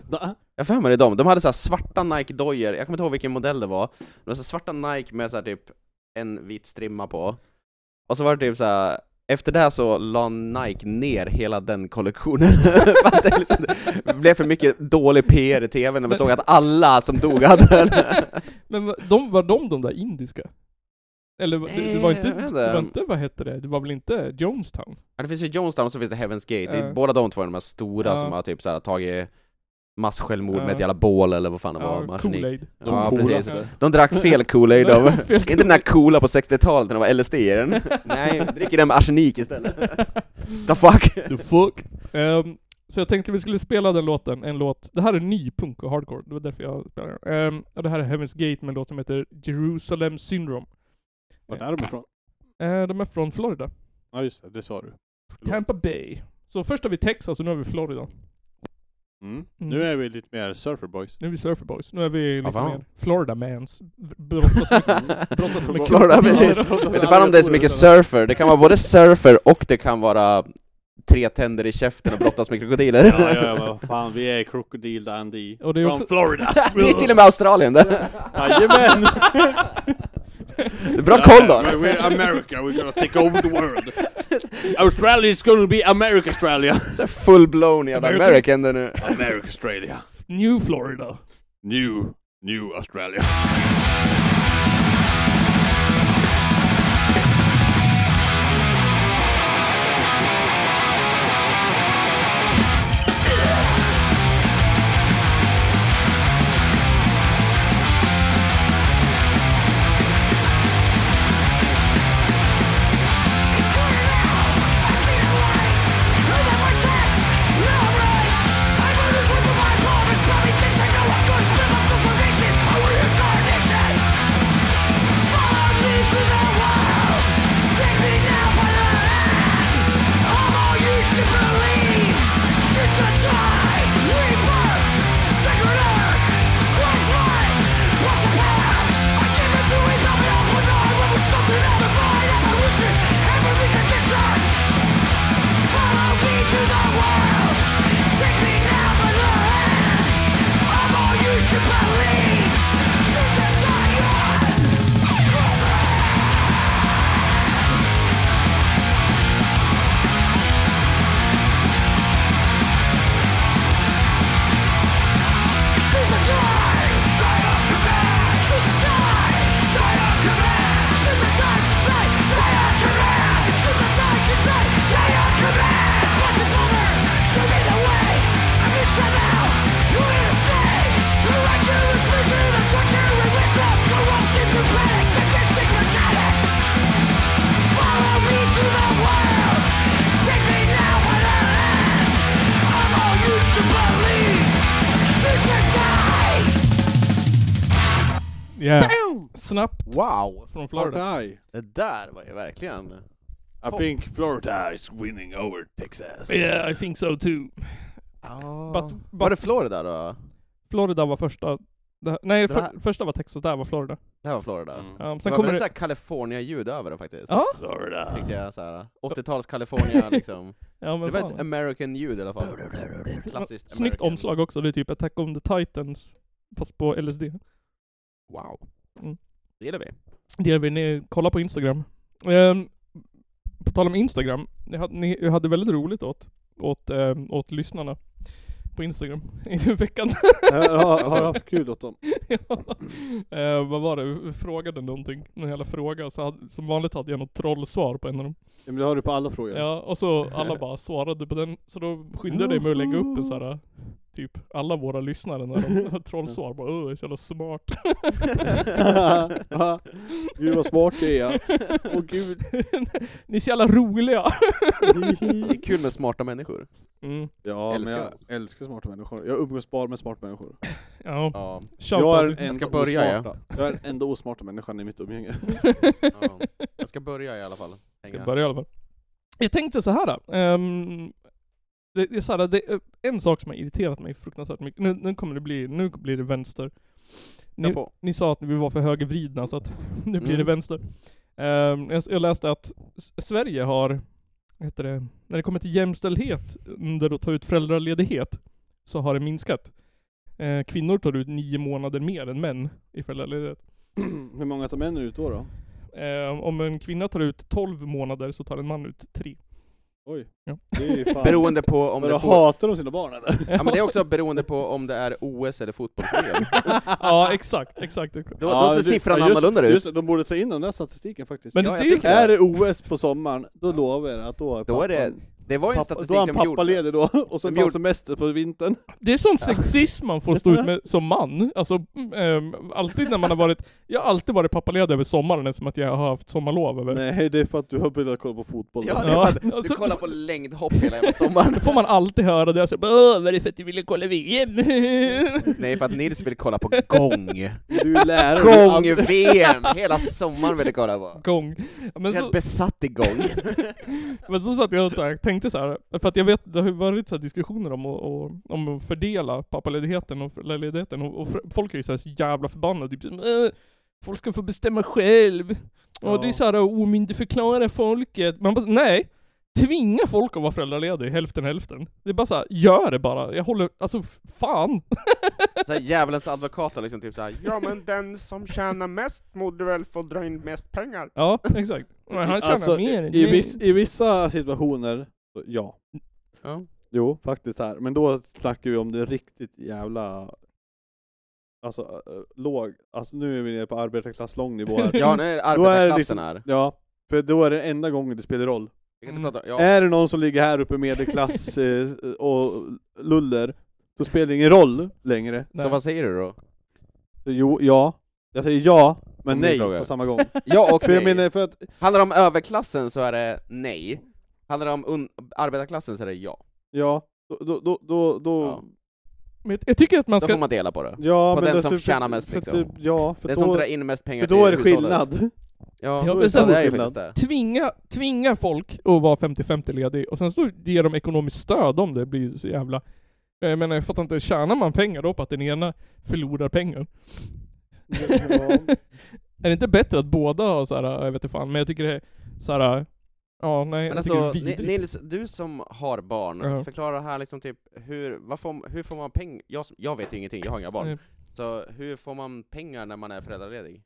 [SPEAKER 5] Jag får för mig det är dem. De hade så här svarta Nike-dojor, jag kommer inte ihåg vilken modell det var. De var så här svarta Nike med så här typ en vit strimma på. Och så var det typ så här. efter det här så la Nike ner hela den kollektionen. För att det, liksom, det blev för mycket dålig PR i TV när man såg att alla som dog hade den.
[SPEAKER 1] Men va- de, var de de där indiska? Eller va- det, det var
[SPEAKER 5] Eh,
[SPEAKER 1] inte,
[SPEAKER 5] jag vet
[SPEAKER 1] det
[SPEAKER 5] inte.
[SPEAKER 1] var inte, vad hette det? Det var väl inte Jonestown?
[SPEAKER 5] Ja, det finns ju Jonestown och så finns det Heaven's Gate, Det är
[SPEAKER 1] Ja.
[SPEAKER 5] båda de två är de här stora
[SPEAKER 1] Ja.
[SPEAKER 5] som har typ så här, tagit massjälvmord med
[SPEAKER 1] Ja.
[SPEAKER 5] ett jävla bål eller vad fan det var,
[SPEAKER 1] Ja,
[SPEAKER 5] arsenik.
[SPEAKER 1] Kool-Aid.
[SPEAKER 5] Ja,
[SPEAKER 4] coola.
[SPEAKER 5] precis. De drack fel Kool-Aid de.
[SPEAKER 1] Fel
[SPEAKER 5] Inte den där coola på 60-talet när det var LSD i den. Nej, dricker den med arsenik istället. The fuck?
[SPEAKER 1] The fuck? Ehm, så jag tänkte vi skulle spela den låten, en låt. Det här är ny punk och hardcore, det var därför jag spelade den. Ehm, och det här är Heaven's Gate med en låt som heter Jerusalem Syndrome.
[SPEAKER 4] Var är de ifrån?
[SPEAKER 1] Eh, de är från Florida.
[SPEAKER 4] Ja just det, det sa du.
[SPEAKER 1] Tampa Bay. Så först har vi Texas och nu har vi Florida.
[SPEAKER 4] Mm. Nu är vi lite mer surferboys.
[SPEAKER 1] Nu är vi Surfer Boys. Nu är vi lite
[SPEAKER 5] fan.
[SPEAKER 1] mer Florida Mans. Brottas med, brottas med
[SPEAKER 5] Florida,
[SPEAKER 1] kroppar.
[SPEAKER 5] precis. Vet du fan om det är så mycket surfer, det kan vara både surfer och det kan vara tre tänder i käften och brottas med krokodiler.
[SPEAKER 4] Ja, ja, ja, vad fan, vi är Crocodile Dundee.
[SPEAKER 1] Och det är
[SPEAKER 4] Från
[SPEAKER 1] också-
[SPEAKER 4] Florida!
[SPEAKER 5] Det är till och med Australien det.
[SPEAKER 4] Jajamän!
[SPEAKER 5] Det är Bra koll då!
[SPEAKER 4] We're America, we're gonna take over the world! Australia is gonna be America Australia!
[SPEAKER 5] Full-blown jävla
[SPEAKER 1] American.
[SPEAKER 5] American där nu.
[SPEAKER 4] America Australia!
[SPEAKER 1] New Florida.
[SPEAKER 4] New, new Australia!
[SPEAKER 1] Yeah. Snabbt
[SPEAKER 5] Wow!
[SPEAKER 1] från Florida.
[SPEAKER 4] Florida!
[SPEAKER 5] Det där var ju verkligen...
[SPEAKER 4] I think Florida is winning over Texas.
[SPEAKER 1] Yeah, I think so too. But- but-
[SPEAKER 5] Var det Florida då?
[SPEAKER 1] Florida var första. Det här, nej,
[SPEAKER 5] Det
[SPEAKER 1] för,
[SPEAKER 5] här-
[SPEAKER 1] första var Texas, det här var Florida.
[SPEAKER 5] Det här var Florida.
[SPEAKER 4] Mm.
[SPEAKER 1] Um,
[SPEAKER 5] Det
[SPEAKER 1] sen
[SPEAKER 5] var
[SPEAKER 1] kommer
[SPEAKER 5] väldigt
[SPEAKER 1] det...
[SPEAKER 5] såhär California-ljud över det faktiskt.
[SPEAKER 1] Ja,
[SPEAKER 4] Florida!
[SPEAKER 5] Tyckte jag såhär, 80-tals California liksom.
[SPEAKER 1] ja
[SPEAKER 5] Det
[SPEAKER 1] men
[SPEAKER 5] var
[SPEAKER 1] fan.
[SPEAKER 5] ett American-ljud i alla fall. Klassiskt
[SPEAKER 1] Snyggt
[SPEAKER 5] American.
[SPEAKER 1] omslag också, det är typ Attack on the Titans. Fast på LSD.
[SPEAKER 5] Wow.
[SPEAKER 1] Mm.
[SPEAKER 5] Det gillar vi.
[SPEAKER 1] Det vill ni kolla på Instagram. Ehm, på tal om Instagram, jag hade, ni, jag hade väldigt roligt åt, åt, ehm, åt lyssnarna på Instagram i veckan.
[SPEAKER 4] Har har haft kul åt dem.
[SPEAKER 1] ja. Ehm, vad var det? Vi frågade någonting, någon jävla fråga, så hade, som vanligt hade jag något trollsvar på en av dem.
[SPEAKER 4] Ja, Men det har du på alla frågor.
[SPEAKER 1] Ja, och så alla bara svarade på den, så då skyndade jag dig med att lägga upp en sån här Typ alla våra lyssnare när de har trollsvar bara åh, det är så jävla smart.
[SPEAKER 4] gud vad smart det är. Åh gud.
[SPEAKER 1] Ni är så jävla roliga!
[SPEAKER 5] Det är kul med smarta människor.
[SPEAKER 1] Mm.
[SPEAKER 4] Ja,
[SPEAKER 5] Älskar
[SPEAKER 4] men jag älskar smarta människor. Jag umgås bara med smarta människor.
[SPEAKER 1] Ja,
[SPEAKER 5] Ja.
[SPEAKER 1] shoutout.
[SPEAKER 4] den
[SPEAKER 5] ska
[SPEAKER 4] enda
[SPEAKER 5] börja, ja.
[SPEAKER 4] osmarta. Jag är den enda osmarta människan i mitt umgänge.
[SPEAKER 5] ja. Jag ska börja i alla fall.
[SPEAKER 1] Ska börja i alla fall. Jag tänkte så här. Då. Ehm, det, det, är så här det är en sak som har irriterat mig fruktansvärt mycket. Nu, nu kommer det bli, nu blir det vänster.
[SPEAKER 5] Kör
[SPEAKER 1] Ni,
[SPEAKER 5] på.
[SPEAKER 1] ni sa att vi var för högervridna så att nu blir det
[SPEAKER 5] Mm.
[SPEAKER 1] vänster. Ehm, jag, jag läste att S- Sverige har, vad heter det, när det kommer till jämställdhet under att ta ut föräldraledighet så har det minskat. Eh, kvinnor tar ut nio månader mer än män i föräldraledighet.
[SPEAKER 4] Hur många tar männen ut då? då?
[SPEAKER 1] Ehm, om en kvinna tar ut 12 månader så tar en man ut tre.
[SPEAKER 4] Oj.
[SPEAKER 1] Ja.
[SPEAKER 4] Det är ju fan...
[SPEAKER 5] Beroende på om
[SPEAKER 4] Men
[SPEAKER 5] det,
[SPEAKER 4] då
[SPEAKER 5] får...
[SPEAKER 4] hatar de sina barn eller?
[SPEAKER 5] ja, men det är också beroende på om det är OS eller fotbolls
[SPEAKER 1] Ja, exakt, exakt. exakt.
[SPEAKER 5] Då,
[SPEAKER 4] Ja,
[SPEAKER 5] då ser
[SPEAKER 4] du-
[SPEAKER 5] siffran
[SPEAKER 4] ja, just-
[SPEAKER 5] annorlunda ut.
[SPEAKER 4] Just det, de borde ta in den där statistiken faktiskt.
[SPEAKER 1] Men
[SPEAKER 5] Ja,
[SPEAKER 1] det,
[SPEAKER 5] jag
[SPEAKER 1] det,
[SPEAKER 5] tycker-
[SPEAKER 4] Är det OS på sommaren, då lovar jag er att då är
[SPEAKER 5] Då är det,
[SPEAKER 4] pappan-
[SPEAKER 5] Det var ju en
[SPEAKER 4] Pappa,
[SPEAKER 5] statistik
[SPEAKER 4] då är
[SPEAKER 5] de
[SPEAKER 4] han
[SPEAKER 5] gjorde.
[SPEAKER 4] pappaledig då, och sen
[SPEAKER 5] De
[SPEAKER 4] tar han
[SPEAKER 5] gjorde-
[SPEAKER 4] semester på vintern.
[SPEAKER 1] Det är sån sexism man får stå ut med som man. Alltså, mm, ehm, alltid när man har varit... Jag har alltid varit pappaledig över sommaren eftersom att jag har haft sommarlov över.
[SPEAKER 4] Nej, det är för att du har börjat kolla på fotboll.
[SPEAKER 5] Ja, det
[SPEAKER 1] Ja,
[SPEAKER 5] var, du
[SPEAKER 1] alltså-
[SPEAKER 5] kollar på längdhopp hela jävla sommaren.
[SPEAKER 1] Då får man alltid höra det, alltså, Åh, vad är det för att du ville kolla VM?
[SPEAKER 5] Nej, för att Nils vill kolla på gång.
[SPEAKER 4] Du är lärare. du är aldrig-
[SPEAKER 5] Gång-VM! Hela sommaren vill jag kolla på.
[SPEAKER 1] Gång. Ja, Men så,
[SPEAKER 5] Helt besatt i gång.
[SPEAKER 1] men så satt jag och så här, tänkte så här, för att jag vet, det har ju varit så här diskussioner om att, och, om att fördela pappaledigheten och föräldraledigheten, och, och fr- folk är ju så här så jävla förbannade, typ "Åh, folk ska få bestämma själv. Och det är så här att omyndigförklara folket. Man bara, nej! Tvinga folk att vara föräldraledig hälften hälften. Det är bara så här, gör det bara. Jag håller, alltså f- fan.
[SPEAKER 5] Såhär djävulens advokat har liksom typ såhär Ja men den som tjänar mest borde väl få dra in mest pengar.
[SPEAKER 1] Ja, exakt. Men han tjänar
[SPEAKER 4] Alltså,
[SPEAKER 1] mer än
[SPEAKER 4] i,
[SPEAKER 1] mig.
[SPEAKER 4] viss, I vissa situationer, så ja.
[SPEAKER 5] Ja.
[SPEAKER 4] Jo, faktiskt här. Men då snackar vi om det riktigt jävla... Alltså, äh, låg... Alltså nu är vi nere på arbetarklass lång nivå här.
[SPEAKER 5] Ja nu är det
[SPEAKER 4] Då är det
[SPEAKER 5] arbetarklassen
[SPEAKER 4] liksom-
[SPEAKER 5] här.
[SPEAKER 4] Ja, för då är det enda gången det spelar roll.
[SPEAKER 5] Vi kan inte prata, ja.
[SPEAKER 4] Är det någon som ligger här uppe i medelklass eh, och luller, så spelar det ingen roll längre.
[SPEAKER 5] Så vad säger du då?
[SPEAKER 4] Så Jo, ja. Jag säger ja, men
[SPEAKER 5] Om ni
[SPEAKER 4] nej
[SPEAKER 5] frågar.
[SPEAKER 4] på samma gång.
[SPEAKER 5] Ja och
[SPEAKER 4] För jag
[SPEAKER 5] nej.
[SPEAKER 4] menar, för att
[SPEAKER 5] Handlar det om överklassen så är det nej. Handlar det om un- arbetarklassen så är det ja.
[SPEAKER 4] Ja, då, då, då, då, då
[SPEAKER 5] Ja.
[SPEAKER 4] ja.
[SPEAKER 1] Men jag tycker att man
[SPEAKER 5] Då
[SPEAKER 1] ska...
[SPEAKER 5] får man dela på det.
[SPEAKER 4] ja
[SPEAKER 5] På
[SPEAKER 4] men
[SPEAKER 5] den
[SPEAKER 4] då-
[SPEAKER 5] som
[SPEAKER 4] för-
[SPEAKER 5] tjänar mest,
[SPEAKER 4] för att
[SPEAKER 5] liksom.
[SPEAKER 4] du- Ja, för
[SPEAKER 5] Den som
[SPEAKER 4] då,
[SPEAKER 5] drar in mest pengar
[SPEAKER 4] för då är
[SPEAKER 5] till
[SPEAKER 4] det
[SPEAKER 5] hushållet.
[SPEAKER 4] skillnad.
[SPEAKER 5] Ja,
[SPEAKER 1] Ja,
[SPEAKER 5] ja,
[SPEAKER 1] men sen-
[SPEAKER 5] det är ju
[SPEAKER 4] skillnad.
[SPEAKER 5] faktiskt det.
[SPEAKER 1] tvinga, tvinga folk att vara 50-50 ledig och sen så ger de ekonomiskt stöd om det blir så jävla... Jag menar jag fattar inte, tjänar man pengar då på att den ena förlorar pengar?
[SPEAKER 4] Ja.
[SPEAKER 1] Är det inte bättre att båda har så här, jag vet inte fan, men jag tycker det är så här. Ja, nej,
[SPEAKER 5] Men
[SPEAKER 1] jag tycker
[SPEAKER 5] alltså
[SPEAKER 1] det är
[SPEAKER 5] Ni-
[SPEAKER 1] vidrigt.
[SPEAKER 5] Nils, du som har barn,
[SPEAKER 1] Ja.
[SPEAKER 5] förklara här liksom typ hur, vad får, hur får man pengar? Jag, som- jag vet ju ingenting, jag har inga barn.
[SPEAKER 1] Nej.
[SPEAKER 5] Så hur får man pengar när man är föräldraledig?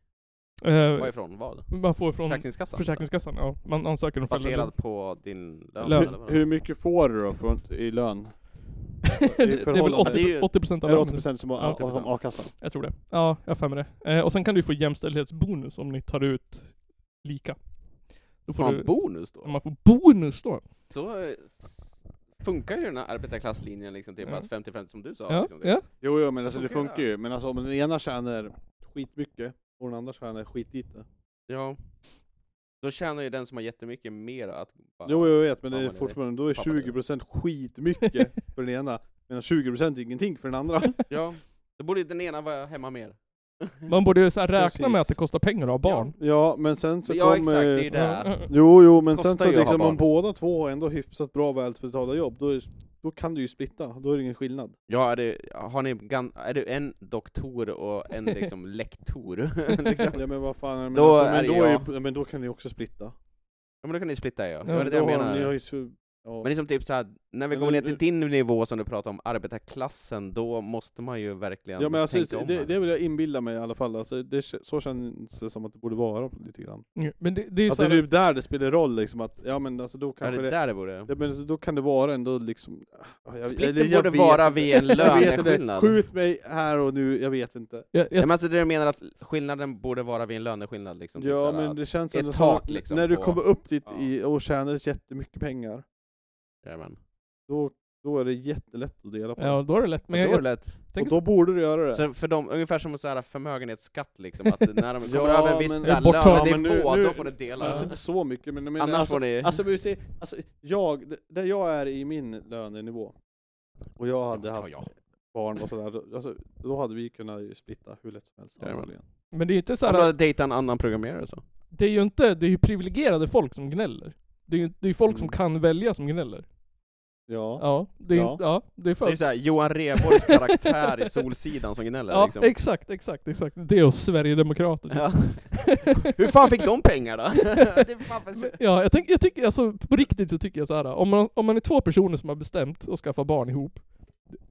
[SPEAKER 1] Eh,
[SPEAKER 5] Varifrån? Vad?
[SPEAKER 1] man får från
[SPEAKER 5] Försäkringskassan?
[SPEAKER 1] Försäkringskassan, ja. Man ansöker om
[SPEAKER 5] Baserad på din lön?
[SPEAKER 1] Lön.
[SPEAKER 5] Eller
[SPEAKER 4] hur,
[SPEAKER 5] vad?
[SPEAKER 4] hur mycket får du då från, i lön?
[SPEAKER 1] det, det är väl
[SPEAKER 4] förhållande-
[SPEAKER 1] 80,
[SPEAKER 5] Det är ju-
[SPEAKER 1] 80% av
[SPEAKER 4] Är det
[SPEAKER 1] lönen?
[SPEAKER 4] 80% som
[SPEAKER 1] Ja,
[SPEAKER 4] har har- som a-kassa?
[SPEAKER 1] Jag tror det. Ja, jag har för mig det. Eh, och sen kan du få jämställdhetsbonus om ni tar ut lika. Då får
[SPEAKER 5] Får man
[SPEAKER 1] du...
[SPEAKER 5] bonus då?
[SPEAKER 1] Man får bonus då.
[SPEAKER 5] Då eh, s- funkar ju den här arbetarklasslinjen liksom, typ
[SPEAKER 1] Ja.
[SPEAKER 5] att 50-50 som du sa.
[SPEAKER 1] Ja,
[SPEAKER 5] liksom, typ.
[SPEAKER 1] ja.
[SPEAKER 4] Jo, jo men alltså det
[SPEAKER 5] Funkar det?
[SPEAKER 4] funkar ju. Men alltså om den ena tjänar skitmycket och den andra tjänar skitlite.
[SPEAKER 5] ja. Då tjänar ju den som har jättemycket mer att... bara-
[SPEAKER 4] Jo, jag vet, men det
[SPEAKER 5] Ja,
[SPEAKER 4] är
[SPEAKER 5] men det-
[SPEAKER 4] fortfarande, då är
[SPEAKER 5] pappa, det är-
[SPEAKER 4] 20% skitmycket för den ena, medan 20% är ingenting för den andra.
[SPEAKER 5] Ja. Då borde ju den ena vara hemma mer.
[SPEAKER 1] Man borde ju så här räkna
[SPEAKER 4] Precis.
[SPEAKER 1] med att det kostar pengar att ha barn.
[SPEAKER 4] Ja, men sen så
[SPEAKER 5] Så ja exakt,
[SPEAKER 4] kommer...
[SPEAKER 5] det är ju det.
[SPEAKER 4] Jo, jo, men
[SPEAKER 5] Kostar
[SPEAKER 4] sen så
[SPEAKER 5] ju att ha
[SPEAKER 4] liksom
[SPEAKER 5] barn.
[SPEAKER 4] om båda två har ändå hyfsat bra välbetalda jobb, då, är, då kan du ju splitta, då är det ingen skillnad.
[SPEAKER 5] Ja, är det, har ni, gan- är du en doktor och en liksom lektor? liksom.
[SPEAKER 4] Ja men vad fan, men,
[SPEAKER 5] Då
[SPEAKER 4] alltså,
[SPEAKER 5] är
[SPEAKER 4] men,
[SPEAKER 5] det
[SPEAKER 4] då är
[SPEAKER 5] jag.
[SPEAKER 4] ju, men då kan ni också splitta.
[SPEAKER 5] Ja men då kan ni splitta ja.
[SPEAKER 1] Ja,
[SPEAKER 5] det var
[SPEAKER 1] men
[SPEAKER 5] det jag
[SPEAKER 4] då har ni- Ni har
[SPEAKER 5] menar.
[SPEAKER 4] ju, så- ja.
[SPEAKER 5] Men liksom typ såhär, när vi
[SPEAKER 4] Men
[SPEAKER 5] kommer ner
[SPEAKER 4] nu-
[SPEAKER 5] till din nivå som du pratar om, arbetarklassen, då måste man ju verkligen
[SPEAKER 4] ja men alltså,
[SPEAKER 5] tänka om
[SPEAKER 4] det,
[SPEAKER 5] här.
[SPEAKER 4] det vill jag inbilla mig i alla fall, alltså, det, så känns det som att det borde vara lite grann.
[SPEAKER 1] Mm. Men det, det är ju
[SPEAKER 4] Att
[SPEAKER 5] Alltså,
[SPEAKER 1] så
[SPEAKER 4] det är
[SPEAKER 1] här,
[SPEAKER 4] typ där det spelar roll liksom, att ja men alltså då
[SPEAKER 5] är
[SPEAKER 4] kanske det,
[SPEAKER 5] det där det borde?
[SPEAKER 4] ja, men, alltså, då kan det vara ändå liksom... ah, jag- eller
[SPEAKER 5] Splitten
[SPEAKER 4] jag
[SPEAKER 5] borde
[SPEAKER 4] vet
[SPEAKER 5] vara
[SPEAKER 4] inte.
[SPEAKER 5] vid en
[SPEAKER 4] Jag vet inte.
[SPEAKER 5] löneskillnad.
[SPEAKER 4] Skjut mig här och nu, jag vet inte.
[SPEAKER 1] jag,
[SPEAKER 5] Nej,
[SPEAKER 1] jag,
[SPEAKER 5] men alltså det du menar att skillnaden borde vara vid en löneskillnad liksom? typ
[SPEAKER 4] Ja
[SPEAKER 5] såhär,
[SPEAKER 4] men
[SPEAKER 5] att-
[SPEAKER 4] det känns
[SPEAKER 5] ett
[SPEAKER 4] ändå som
[SPEAKER 5] tak,
[SPEAKER 4] att
[SPEAKER 5] liksom,
[SPEAKER 4] när du
[SPEAKER 5] på-
[SPEAKER 4] kommer upp dit
[SPEAKER 5] Ja.
[SPEAKER 4] i, och tjänar jättemycket pengar,
[SPEAKER 5] Jajamän.
[SPEAKER 4] då, då är det jättelätt att dela på.
[SPEAKER 1] ja, då är det lätt. Men
[SPEAKER 5] Men då är
[SPEAKER 1] jag,
[SPEAKER 5] det lätt.
[SPEAKER 1] tänk
[SPEAKER 4] och då borde du göra det.
[SPEAKER 5] Så för dem, ungefär som så här förmögenhetsskatt liksom, att när de kommer
[SPEAKER 4] Ja,
[SPEAKER 5] över en viss
[SPEAKER 4] men-
[SPEAKER 5] där
[SPEAKER 1] Borttagen.
[SPEAKER 5] lönenivå,
[SPEAKER 4] Ja, men nu- nu-
[SPEAKER 5] då får det
[SPEAKER 4] Men
[SPEAKER 5] delas.
[SPEAKER 4] alltså, inte så mycket, men, men
[SPEAKER 5] Annars
[SPEAKER 4] alltså,
[SPEAKER 5] får ni...
[SPEAKER 4] alltså, men vi säger, alltså jag, d- där jag är i min lönenivå, och jag hade
[SPEAKER 5] ja,
[SPEAKER 4] haft
[SPEAKER 5] ja.
[SPEAKER 4] barn och sådär, då- alltså, då hade vi kunnat ju splitta hur lätt som helst.
[SPEAKER 5] Jajamän.
[SPEAKER 4] antagligen.
[SPEAKER 1] men det är ju inte så
[SPEAKER 5] Om du
[SPEAKER 1] här,
[SPEAKER 5] hade dejtat en annan programmerare så.
[SPEAKER 1] det är ju inte, det är ju privilegierade folk som gnäller. Det är ju det är ju folk som
[SPEAKER 4] Mm.
[SPEAKER 1] kan välja som gnäller.
[SPEAKER 4] Ja.
[SPEAKER 1] Ja, det är,
[SPEAKER 4] Ja.
[SPEAKER 1] ja. Ja, det är för...
[SPEAKER 5] Det är såhär Johan Rheborgs karaktär i Solsidan som gnäller
[SPEAKER 1] ja,
[SPEAKER 5] liksom.
[SPEAKER 1] exakt, exakt, exakt. Det och Sverigedemokraterna.
[SPEAKER 5] Ja. Hur fan fick de pengar då? det är fan för...
[SPEAKER 1] Ja, jag, tänk, jag tycker, alltså på riktigt så tycker jag så här. Om man, om man är två personer som har bestämt att skaffa barn ihop,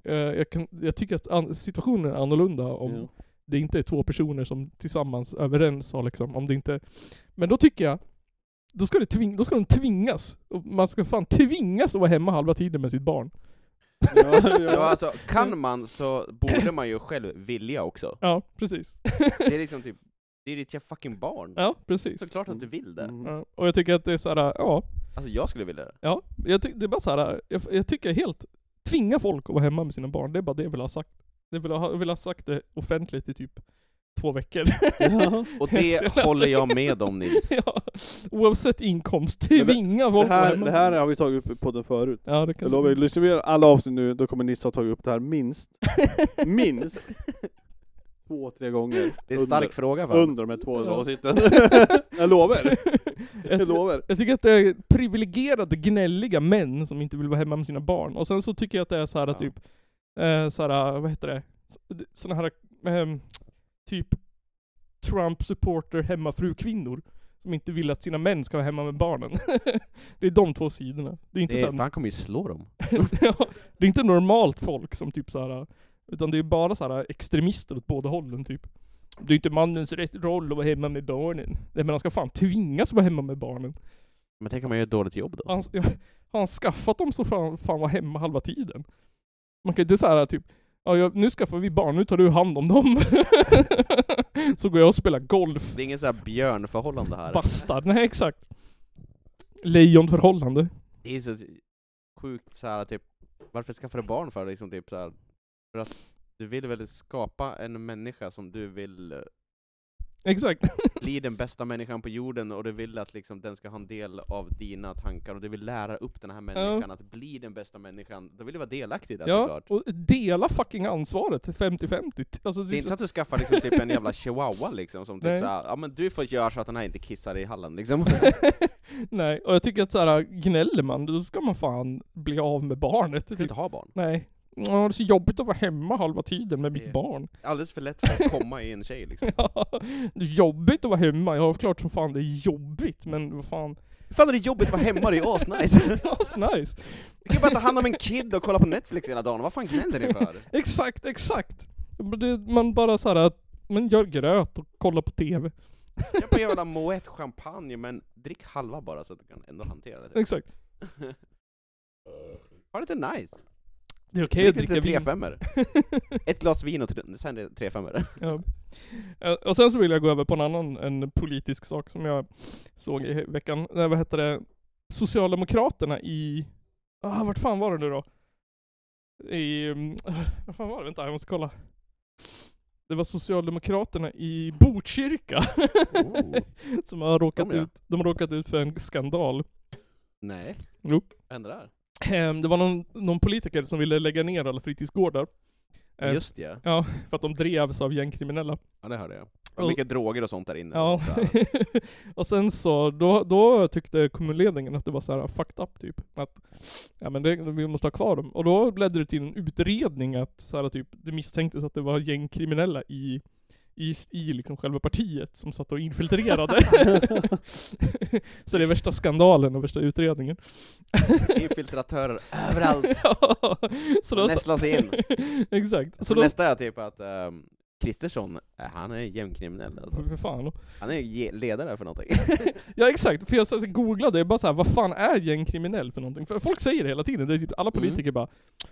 [SPEAKER 1] eh, jag, kan, jag tycker att an, situationen är annorlunda om
[SPEAKER 4] Ja.
[SPEAKER 1] det inte är två personer som tillsammans överens har liksom, om det inte... Men då tycker jag, då ska, det tving, då ska de tvingas. Och man ska fan tvingas att vara hemma halva tiden med sitt barn.
[SPEAKER 4] Ja,
[SPEAKER 5] Ja,
[SPEAKER 4] ja.
[SPEAKER 5] alltså, kan man så borde man ju själv vilja också.
[SPEAKER 1] Ja, precis.
[SPEAKER 5] Det är liksom typ, det är ditt fucking barn.
[SPEAKER 1] Ja, precis.
[SPEAKER 5] Såklart att du vill det.
[SPEAKER 4] Mm.
[SPEAKER 1] Ja, och jag tycker att det är så här, ja.
[SPEAKER 5] Alltså jag skulle vilja det.
[SPEAKER 1] Ja, jag ty- det är bara så här. Jag, jag tycker helt... Tvinga folk att vara hemma med sina barn, det är bara det jag vill ha sagt. Det vill jag, ha, jag vill ha sagt det offentligt i typ två veckor.
[SPEAKER 5] Och
[SPEAKER 1] Jag
[SPEAKER 5] det
[SPEAKER 1] läste-
[SPEAKER 5] håller jag med om Nils.
[SPEAKER 1] ja. Oavsett inkomst,
[SPEAKER 4] Men det-
[SPEAKER 1] tvinga
[SPEAKER 4] Det
[SPEAKER 1] folk att vara
[SPEAKER 4] här,
[SPEAKER 1] hemma.
[SPEAKER 4] det här har vi tagit upp i podden förut.
[SPEAKER 1] Ja, det
[SPEAKER 4] Jag
[SPEAKER 1] kan
[SPEAKER 4] lovar, lyssnar vi igenom alla avsnitt nu, då kommer Nisse ha tagit upp det här minst, minst två, tre gånger.
[SPEAKER 5] Det är en stark fråga
[SPEAKER 4] under,
[SPEAKER 5] fan.
[SPEAKER 4] under de här 200
[SPEAKER 1] Ja.
[SPEAKER 4] avsnitten. jag lovar, jag
[SPEAKER 1] jag,
[SPEAKER 4] lovar.
[SPEAKER 1] jag tycker att det är privilegierade, gnälliga män som inte vill vara hemma med sina barn. Och sen så tycker jag att det är så här
[SPEAKER 5] Ja.
[SPEAKER 1] typ, eh, så här, vad heter det? Sådana här, ehm, typ Trump-supporter hemmafru-kvinnor. Som inte vill att sina män ska vara hemma med barnen. det är de två sidorna. Det är inte,
[SPEAKER 5] Det
[SPEAKER 1] så
[SPEAKER 5] är,
[SPEAKER 1] här,
[SPEAKER 5] fan kommer ju slå dem.
[SPEAKER 1] ja, det är inte normalt folk som typ så här. Utan det är bara så här extremister åt båda hållen typ. Det är inte mannens rätt roll att vara hemma med barnen. Nej men han ska fan tvingas vara hemma med barnen.
[SPEAKER 5] Men tänk om jag gör ett dåligt jobb då?
[SPEAKER 1] Han, har han skaffat dem så får han fan vara hemma halva tiden. Man kan inte säga typ, ja, jag, nu skaffar vi barn, nu tar du hand om dem. så går jag och spelar golf.
[SPEAKER 5] Det är ingen sån här björnförhållande här.
[SPEAKER 1] Bastard. Nej exakt. Lejonförhållande.
[SPEAKER 5] Det är så sjukt så här typ, varför skaffar du barn för? Liksom, typ, så här, för att du vill väl skapa en människa som du vill eh,
[SPEAKER 1] Exakt.
[SPEAKER 5] bli den bästa människan på jorden och du vill att liksom, den ska ha en del av dina tankar och du vill lära upp den här människan att bli den bästa människan. Då vill du vara delaktig i det
[SPEAKER 1] ja,
[SPEAKER 5] såklart.
[SPEAKER 1] och dela fucking ansvaret 50-50. Alltså,
[SPEAKER 5] Det är inte så att du skaffar liksom, typ, en jävla chihuahua liksom, som
[SPEAKER 1] Nej.
[SPEAKER 5] typ såhär, ja men du får göra så att den här inte kissar i hallen liksom.
[SPEAKER 1] Nej, och jag tycker att så här, gnäller man, då ska man fan bli av med barnet.
[SPEAKER 5] Du kan inte ha barn.
[SPEAKER 1] Nej. Ja, det är så jobbigt att vara hemma halva tiden med mitt
[SPEAKER 5] Det-
[SPEAKER 1] barn.
[SPEAKER 5] Alldeles för lätt för att komma i en tjej liksom.
[SPEAKER 1] Ja, det är jobbigt att vara hemma. Ja, klart som fan det är jobbigt, men vad fan.
[SPEAKER 5] Fan är det jobbigt att vara hemma, det är ju asnice!
[SPEAKER 1] Asnice!
[SPEAKER 5] Du kan ju bara ta hand om en kid och kolla på Netflix hela dagen, vad fan gnäller ni för?
[SPEAKER 1] Exakt, exakt! Men det- Man bara så här, att man gör gröt och kollar på TV.
[SPEAKER 5] Jag på jävla moët champagne, men drick halva bara så att du kan ändå hantera det.
[SPEAKER 1] Exakt.
[SPEAKER 5] Ha lite nice!
[SPEAKER 1] Det är okej
[SPEAKER 5] Drick
[SPEAKER 1] att dricka
[SPEAKER 5] lite tre
[SPEAKER 1] vin.
[SPEAKER 5] femmor. Ett glas vin och tre- sen är det tre femmor.
[SPEAKER 1] Ja. Eh, Och sen så vill jag gå över på en annan en politisk sak som jag såg i he- veckan. Nej, vad hette det? Socialdemokraterna i... Ah, vart fan var det nu då? I... mm, Vad fan var det? Vänta, jag måste kolla. Det var Socialdemokraterna i Botkyrka
[SPEAKER 5] Oh.
[SPEAKER 1] som har råkat,
[SPEAKER 5] De, ja.
[SPEAKER 1] ut, de har råkat ut för en skandal.
[SPEAKER 5] Nej.
[SPEAKER 1] Jo.
[SPEAKER 5] Vad hände där?
[SPEAKER 1] Ehm, Det var någon, någon politiker som ville lägga ner alla fritidsgårdar. Eh,
[SPEAKER 5] Just ja.
[SPEAKER 1] Ja, för att de drevs av gängkriminella.
[SPEAKER 5] Ja det hörde jag.
[SPEAKER 1] Och-
[SPEAKER 5] Och mycket droger och sånt där inne.
[SPEAKER 1] Oh. Ja.
[SPEAKER 5] Så här.
[SPEAKER 1] och sen så, då, då tyckte kommunledningen att det var så här fucked up typ. Att, ja men det, vi måste ha kvar dem. Och då ledde det till en utredning att så här, typ, det misstänktes att det var gängkriminella i i, i liksom själva partiet som satt och infiltrerade. så det är värsta skandalen och värsta utredningen.
[SPEAKER 5] Infiltratörer överallt.
[SPEAKER 1] Ja, så då, så,
[SPEAKER 5] Nästlar sig in.
[SPEAKER 1] exakt. Så
[SPEAKER 5] Så
[SPEAKER 1] då,
[SPEAKER 5] nästa är typ att ehm, Kristersson, eh, han är gängkriminell alltså.
[SPEAKER 1] för fan.
[SPEAKER 5] Han är ju ge- ledare för någonting.
[SPEAKER 1] Ja exakt, för jag så- så googlade, jag bara så här, vad fan är gängkriminell för någonting? För folk säger det hela tiden, det är typ alla politiker bara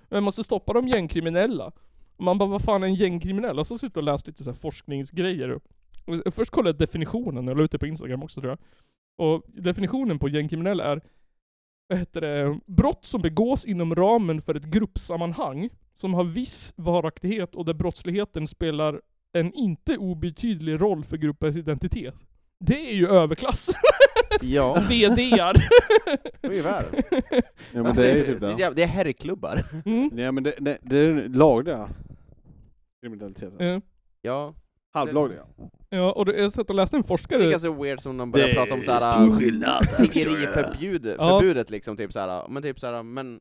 [SPEAKER 1] Vi måste stoppa de gängkriminella. Och man bara, vad fan är en gängkriminell? Och så sitter jag och läser lite så här forskningsgrejer. Och Först kollade jag definitionen, jag la ut det på Instagram också tror jag. Och definitionen på gängkriminell är, vad heter det, brott som begås inom ramen för ett gruppsammanhang som har viss varaktighet och där brottsligheten spelar en inte obetydlig roll för gruppens identitet. Det är ju överklass.
[SPEAKER 5] ja,
[SPEAKER 1] VDR.
[SPEAKER 5] ungefär.
[SPEAKER 4] Ja, men det är ju typ
[SPEAKER 5] Alltså, det.
[SPEAKER 4] det.
[SPEAKER 5] är- Det är herrklubbar.
[SPEAKER 1] Mm.
[SPEAKER 4] Nej men det, det, det är den lagliga kriminaliteten.
[SPEAKER 1] Eh,
[SPEAKER 5] Ja.
[SPEAKER 4] Halvlagliga.
[SPEAKER 1] Ja, och det- jag satt och läste en
[SPEAKER 5] Det är
[SPEAKER 1] forskare.
[SPEAKER 5] ganska weird som de börjar prata om såhär,
[SPEAKER 8] Stor skillnad.
[SPEAKER 5] tiggeriförbudet
[SPEAKER 1] Ja.
[SPEAKER 5] förbudet liksom, typ såhär, men typ såhär, men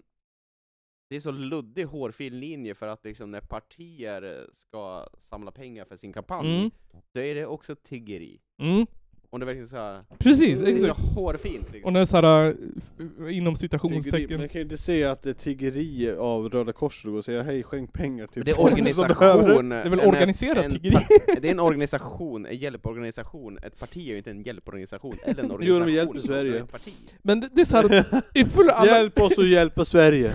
[SPEAKER 5] det är så luddig hårfin linje för att liksom när partier ska samla pengar för sin kampanj,
[SPEAKER 1] Mm.
[SPEAKER 5] då är det också tiggeri.
[SPEAKER 1] Mm.
[SPEAKER 5] Om det verkligen såhär,
[SPEAKER 1] Precis,
[SPEAKER 5] det är
[SPEAKER 1] exakt.
[SPEAKER 5] så hårfint liksom.
[SPEAKER 1] Och när såhär, inom
[SPEAKER 4] Tiggeri, men
[SPEAKER 1] citationstecken.
[SPEAKER 4] jag kan ju inte säga att det är tiggeri av Röda Korset och säga hej skänk pengar till
[SPEAKER 5] Men det är
[SPEAKER 4] barnen som behöver det."
[SPEAKER 5] organisation.
[SPEAKER 1] Det är väl
[SPEAKER 5] en-
[SPEAKER 1] organiserat
[SPEAKER 5] en
[SPEAKER 1] tiggeri?
[SPEAKER 5] part- Det är en organisation, en hjälporganisation. Ett parti är ju inte en hjälporganisation, eller en
[SPEAKER 4] Jo,
[SPEAKER 5] organisation.
[SPEAKER 4] de hjälper
[SPEAKER 5] som
[SPEAKER 4] Sverige.
[SPEAKER 5] är ett parti.
[SPEAKER 1] Men det det är såhär, uppfyller, alla-
[SPEAKER 4] Hjälp oss och hjälpa Sverige!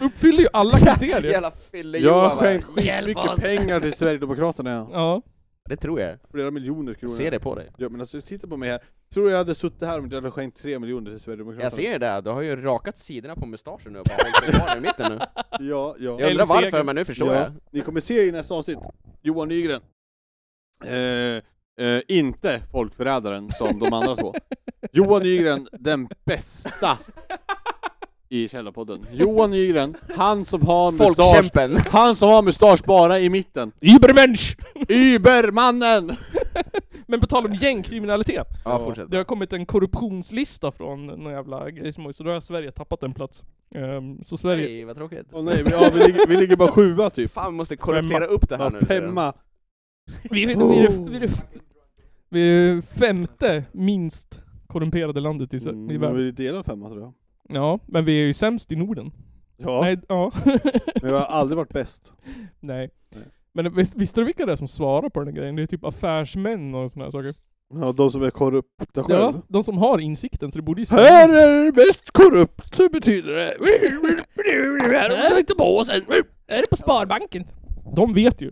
[SPEAKER 1] uppfyller ju alla kriterier.
[SPEAKER 5] Jävla
[SPEAKER 4] Jag har
[SPEAKER 5] fyllejoa
[SPEAKER 4] skänkt skitmycket pengar till Sverigedemokraterna.
[SPEAKER 1] Ja.
[SPEAKER 5] Det tror jag.
[SPEAKER 4] Flera miljoner kronor.
[SPEAKER 5] Ser det på dig.
[SPEAKER 4] Ja men alltså titta på mig här. Tror du jag hade suttit här om inte jag hade skänkt tre miljoner till Sverigedemokraterna?
[SPEAKER 5] Jag ser det där, du har ju rakat sidorna på mustaschen nu och bara hållit dig kvar i mitten nu.
[SPEAKER 4] Ja, ja.
[SPEAKER 5] Jag undrar
[SPEAKER 1] Eller
[SPEAKER 5] varför
[SPEAKER 1] segern.
[SPEAKER 5] men nu förstår
[SPEAKER 4] ja.
[SPEAKER 5] jag.
[SPEAKER 4] Ni kommer se i nästa avsnitt, Johan Nygren. Eh, eh, inte folkförrädaren som de andra två. Johan Nygren, den bästa i Källarpodden. Johan Nygren, han som har mustasch,
[SPEAKER 5] Folkkämpen!
[SPEAKER 4] han som har mustasch bara i mitten.
[SPEAKER 1] Übermensch!
[SPEAKER 4] Übermannen!
[SPEAKER 1] Men på tal om gängkriminalitet.
[SPEAKER 5] Ja, fortsätt.
[SPEAKER 1] Det har kommit en korruptionslista från någon jävla grejsmoj, så då har Sverige tappat en plats. Ehm, så Sverige...
[SPEAKER 5] Nej, vad tråkigt.
[SPEAKER 4] Åh nej, vi, ja, vi, ligger, vi ligger bara sjua typ.
[SPEAKER 5] Fan, vi måste korruptera
[SPEAKER 1] Femma.
[SPEAKER 5] upp det här
[SPEAKER 4] Ja,
[SPEAKER 5] nu.
[SPEAKER 4] femma.
[SPEAKER 1] Vi, vi, vi, är det- vi, är det- vi är det femte minst korrumperade landet i, Sve- i
[SPEAKER 4] Mm, men
[SPEAKER 1] världen.
[SPEAKER 4] vi delar femma tror jag.
[SPEAKER 1] Ja, men vi är ju sämst i Norden.
[SPEAKER 4] Ja,
[SPEAKER 1] Nej, ja.
[SPEAKER 4] men vi har aldrig varit bäst.
[SPEAKER 1] Nej.
[SPEAKER 4] Nej.
[SPEAKER 1] Men visst, visste du vilka det är som svarar på den här grejen? Det är typ affärsmän och såna här saker.
[SPEAKER 4] Ja, de som är korrupta själv.
[SPEAKER 1] Ja, de som har insikten, så det borde ju
[SPEAKER 4] Här är det mest korrupt, så betyder det.
[SPEAKER 1] är inte på sen! Är det på Sparbanken? De vet ju.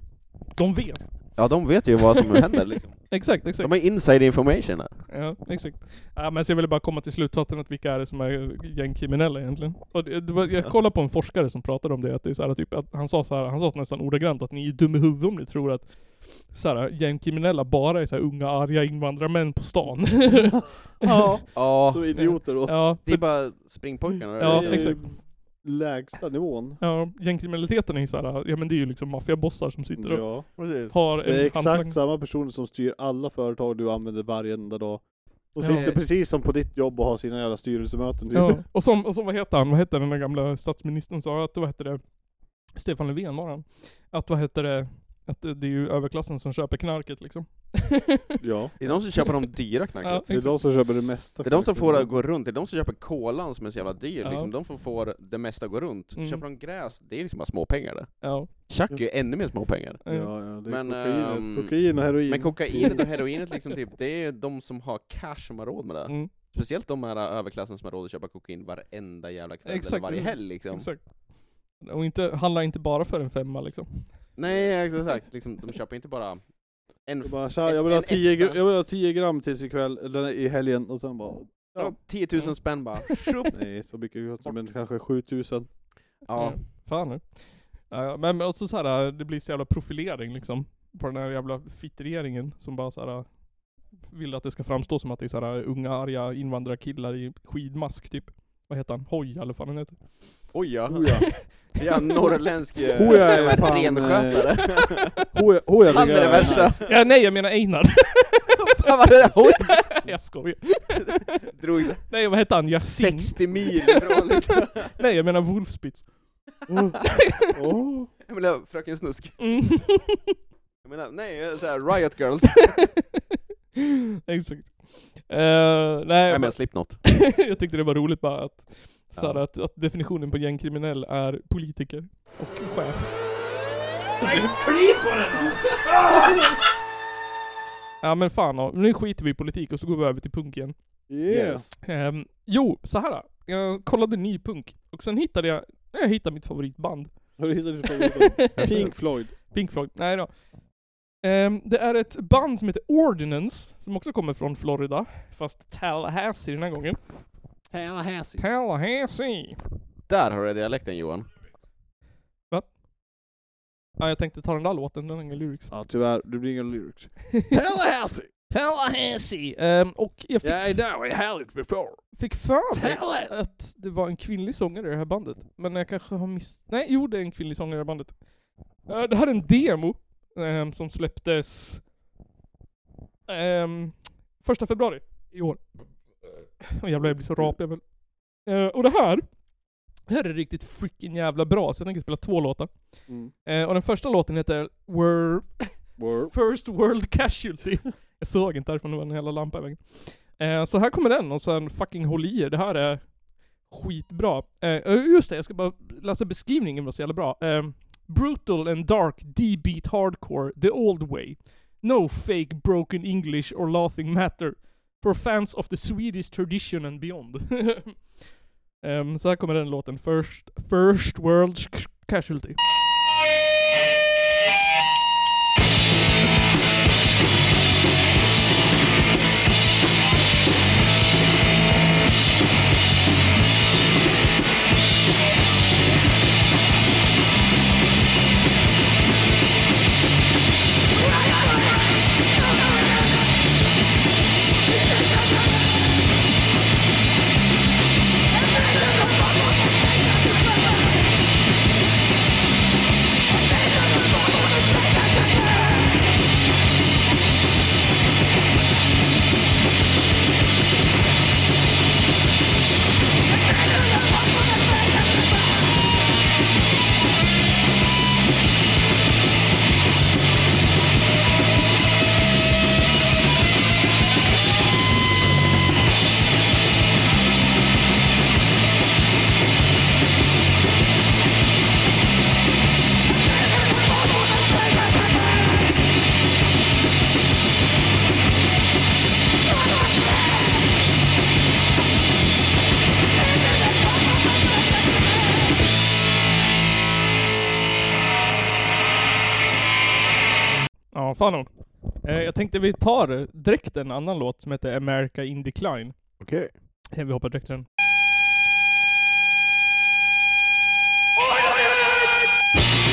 [SPEAKER 1] De vet.
[SPEAKER 5] Ja, de vet ju vad som händer liksom.
[SPEAKER 1] Exakt, exakt.
[SPEAKER 5] De har inside information här.
[SPEAKER 1] Ja, exakt. Ja, men så jag ville bara komma till slutsatsen att vilka är det som är gängkriminella egentligen? Och det, det var, jag kollade på en forskare som pratade om det, att det är så här, typ, att han sa så här, han sa nästan ordagrant att ni är dum i huvudet om ni tror att så här, gängkriminella bara är så här, unga arga invandrarmän på stan.
[SPEAKER 4] Ja,
[SPEAKER 5] Ja,
[SPEAKER 4] de är idioter då.
[SPEAKER 1] ja,
[SPEAKER 5] det är bara springpojkarna.
[SPEAKER 1] Ja,
[SPEAKER 5] liksom.
[SPEAKER 4] Det är
[SPEAKER 1] exakt.
[SPEAKER 4] Lägsta nivån.
[SPEAKER 1] ja, gängkriminaliteten är ju så här, ja men det är ju liksom maffiabossar som sitter och
[SPEAKER 4] Ja.
[SPEAKER 5] Precis.
[SPEAKER 1] har
[SPEAKER 4] Det är
[SPEAKER 1] en handlang.
[SPEAKER 4] exakt samma personer som styr alla företag du använder varenda dag. Och
[SPEAKER 1] Ja.
[SPEAKER 4] sitter precis som på ditt jobb och har sina jävla styrelsemöten. typ.
[SPEAKER 1] Ja, och som, och som vad heter han, vad heter den där gamla statsministern sa att, vad heter det, Stefan Löfven var han. Att vad heter det, att det det är ju överklassen som köper knarket liksom.
[SPEAKER 4] ja.
[SPEAKER 5] Det är de som köper de dyra knarket.
[SPEAKER 4] Det är de som köper det mesta.
[SPEAKER 5] Det är de som får det
[SPEAKER 4] Mm.
[SPEAKER 5] att gå runt, det är de som köper kolan som är så jävla dyr
[SPEAKER 1] Ja.
[SPEAKER 5] liksom. De som får det mesta att gå runt.
[SPEAKER 1] Mm.
[SPEAKER 5] Köper de gräs, det är liksom bara småpengar det.
[SPEAKER 1] Ja.
[SPEAKER 5] Tjack är ju ännu mer småpengar.
[SPEAKER 4] Ja, ja, det är
[SPEAKER 5] Men,
[SPEAKER 4] kokainet.
[SPEAKER 5] ehm,
[SPEAKER 4] kokain och heroin.
[SPEAKER 5] Men kokainet och heroinet liksom, typ, det är de som har cash som har råd med det.
[SPEAKER 1] Mm.
[SPEAKER 5] Speciellt de här överklassen som har råd att köpa kokain varenda jävla kväll eller
[SPEAKER 1] Exakt,
[SPEAKER 5] varje
[SPEAKER 1] exakt,
[SPEAKER 5] helg liksom.
[SPEAKER 1] Exakt. Och inte, handlar inte bara för en femma liksom.
[SPEAKER 5] Nej exakt, exakt. Liksom, de köper inte bara en
[SPEAKER 4] Och
[SPEAKER 5] f-
[SPEAKER 4] bara, tja, jag, vill ha
[SPEAKER 5] en- en
[SPEAKER 4] 10,
[SPEAKER 5] etta.
[SPEAKER 4] jag vill ha 10 gram tills ikväll, eller i helgen, och sen bara...
[SPEAKER 5] ja, 10 000 spänn bara. Shup.
[SPEAKER 4] Nej, så mycket kostar men kanske 7000.
[SPEAKER 5] Ja.
[SPEAKER 1] Fan nu. Ja, ja, men men också så här, det blir så jävla profilering liksom. På den här jävla fittregeringen som bara så här vill att det ska framstå som att det är så här unga arga invandrarkillar i skidmask typ. Vad heter han? Hoj eller vad fan han heter.
[SPEAKER 5] Oj ja.
[SPEAKER 4] Hoja.
[SPEAKER 5] Det är en norrländsk eh,
[SPEAKER 4] Hoja är
[SPEAKER 5] jävla
[SPEAKER 4] fan, eh,
[SPEAKER 5] renskötare.
[SPEAKER 4] Hoja, hoja
[SPEAKER 5] Han är
[SPEAKER 4] tycker
[SPEAKER 5] det
[SPEAKER 4] jag
[SPEAKER 5] värsta.
[SPEAKER 1] Ja, nej jag menar Einar.
[SPEAKER 5] Fan vad det där hoj
[SPEAKER 1] jag skojar.
[SPEAKER 5] drog
[SPEAKER 1] Nej vad heter han? Yasin?
[SPEAKER 5] 60 mil ifrån liksom.
[SPEAKER 1] Nej jag menar Wolfspitz.
[SPEAKER 4] Åh.
[SPEAKER 5] Jag menar Fröken Snusk.
[SPEAKER 1] Mm.
[SPEAKER 5] Jag menar, nej, jag är såhär Riot Girls.
[SPEAKER 1] Exakt. Eh, nej,
[SPEAKER 5] Nej men
[SPEAKER 1] men
[SPEAKER 5] Slipknot.
[SPEAKER 1] jag tyckte det var roligt bara att, så här,
[SPEAKER 5] Ja.
[SPEAKER 1] att, att definitionen på gängkriminell är politiker och chef. Ja men fan ja. nu skiter vi i politik och så går vi över till punk igen.
[SPEAKER 4] Yes.
[SPEAKER 1] Ehm, jo, så här. Jag kollade ny punk och sen hittade jag, nej, jag hittade mitt favoritband.
[SPEAKER 4] Har du hittat ditt favoritband? Pink Floyd.
[SPEAKER 1] Pink Floyd. Nej då. Ehm, det är ett band som heter Ordinance, som också kommer från Florida. Fast Tallahassee den här gången. Tallahassee. Tallahassee.
[SPEAKER 5] Där har du dialekten Johan.
[SPEAKER 1] Ja, jag tänkte ta den där låten, den har inga lyrics.
[SPEAKER 4] Ja tyvärr, det blir inga lyrics.
[SPEAKER 1] Tallahassee! Tallahassee! Ehm, och jag fick,
[SPEAKER 4] I know, I had it before.
[SPEAKER 1] fick för mig att det var en kvinnlig sångare i det här bandet. Men jag kanske har miss... Nej, jo det är en kvinnlig sångare i det här bandet. Eh, det här är en demo ehm, som släpptes... ehm, första februari i år. Åh jävlar, jag blir så rapig jag väl. Eh, och det här, det här är riktigt freaking jävla bra, så jag tänker spela två låtar.
[SPEAKER 4] Mm.
[SPEAKER 1] Eh, och den första låten heter Were
[SPEAKER 4] Word.
[SPEAKER 1] First World Casualty. Jag såg inte därför det var en hela lampa i vägen. Eh, så här kommer den och sen fucking håll i er, det här är skitbra. Eh, just det, jag ska bara läsa beskrivningen, det var så jävla bra. Eh, brutal and dark D-beat hardcore, the old way. No fake broken English or laughing matter. For fans of the Swedish tradition and beyond. Ehm, så här kommer den låten, First, first World Casualty. fan om. Eh, jag tänkte vi tar direkt en annan låt som heter America in Decline.
[SPEAKER 5] Okej.
[SPEAKER 1] Eh, Vi hoppar direkt till den.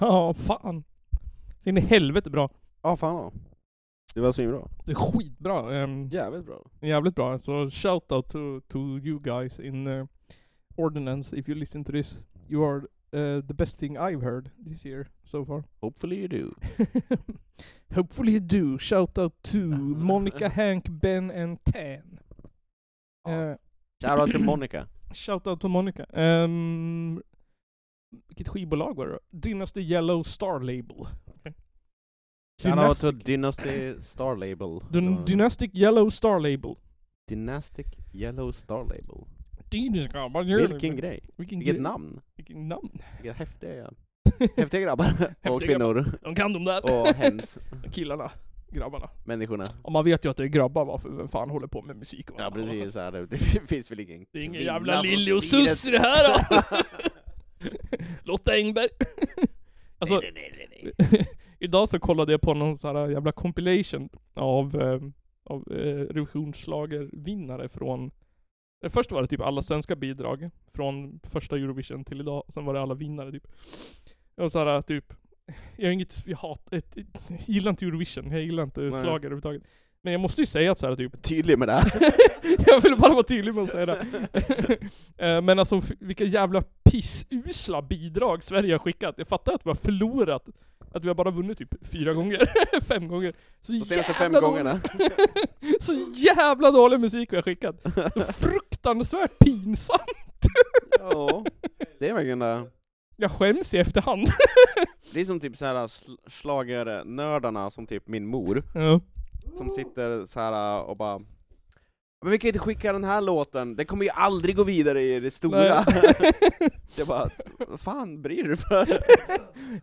[SPEAKER 1] Ja, fan. Så in i helvete bra.
[SPEAKER 5] Ja, fan ja. Det var svinbra.
[SPEAKER 1] Det är skitbra. ehm,
[SPEAKER 5] Jävligt bra.
[SPEAKER 1] jävligt bra. Så shout out to, to you guys in eh, Ordinance if you listen to this. You are eh, the best thing I've heard this year so far.
[SPEAKER 5] Hopefully you do.
[SPEAKER 1] Hopefully you do. Shout out to Monica, Hank, Ben and Tan.
[SPEAKER 5] Ja.
[SPEAKER 1] Eh,
[SPEAKER 5] Shoutout till Monica.
[SPEAKER 1] shout out to Monica. Um, vilket skivbolag var det då? Dynasty Yellow Star Label. Okay.
[SPEAKER 5] Shoutout till Dynasty Star Label.
[SPEAKER 1] Dyn- Dynastic Yellow Star Label.
[SPEAKER 5] Dynastic Yellow Star Label. Vilken
[SPEAKER 1] Vilken
[SPEAKER 5] grej.
[SPEAKER 1] Vilken,
[SPEAKER 5] Vilket
[SPEAKER 1] grej.
[SPEAKER 5] namn.
[SPEAKER 1] Vilken namn.
[SPEAKER 5] Vilka häftiga, häftiga grabbar. och kvinnor.
[SPEAKER 1] De kan de där.
[SPEAKER 5] Och hens.
[SPEAKER 1] Killarna. Grabbarna.
[SPEAKER 5] Människorna.
[SPEAKER 1] Och man vet ju att det är grabbar varför vem fan håller på med musik och
[SPEAKER 5] Ja precis, så här, det finns väl ingen
[SPEAKER 1] Det är ingen
[SPEAKER 5] kvinna
[SPEAKER 1] jävla
[SPEAKER 5] som
[SPEAKER 1] Lilly och
[SPEAKER 5] skriver-
[SPEAKER 1] Suss i det här då. Lotta Engberg. alltså, idag så kollade jag på någon sån här jävla compilation av, eh, av eh, revisionsschlagervinnare från eh, Först var det typ alla svenska bidrag från första Eurovision till idag, sen var det alla vinnare typ. Och så här typ, jag har inget, jag hatar, ett- jag gillar inte Eurovision, jag gillar inte
[SPEAKER 5] Nej.
[SPEAKER 1] slager överhuvudtaget. Men jag måste ju säga att så här typ,
[SPEAKER 5] Tydlig med det här.
[SPEAKER 1] jag ville bara vara tydlig med att säga det. Eh, Men alltså f- vilka jävla pissusla bidrag Sverige har skickat. Jag fattar att vi har förlorat. Att vi har bara vunnit typ fyra gånger, fem gånger. Så
[SPEAKER 5] De senaste fem
[SPEAKER 1] jävla
[SPEAKER 5] gångerna.
[SPEAKER 1] Dålig, så jävla dålig musik vi har skickat. Så fruktansvärt pinsamt.
[SPEAKER 5] Ja, det är verkligen det.
[SPEAKER 1] Jag skäms i efterhand.
[SPEAKER 5] Det är som typ såhär schlagernördarna som typ min mor,
[SPEAKER 1] Ja.
[SPEAKER 5] som sitter så här äh, och bara men vi kan ju inte skicka den här låten, den kommer ju aldrig gå vidare i det stora. jag bara, vad fan bryr du dig för?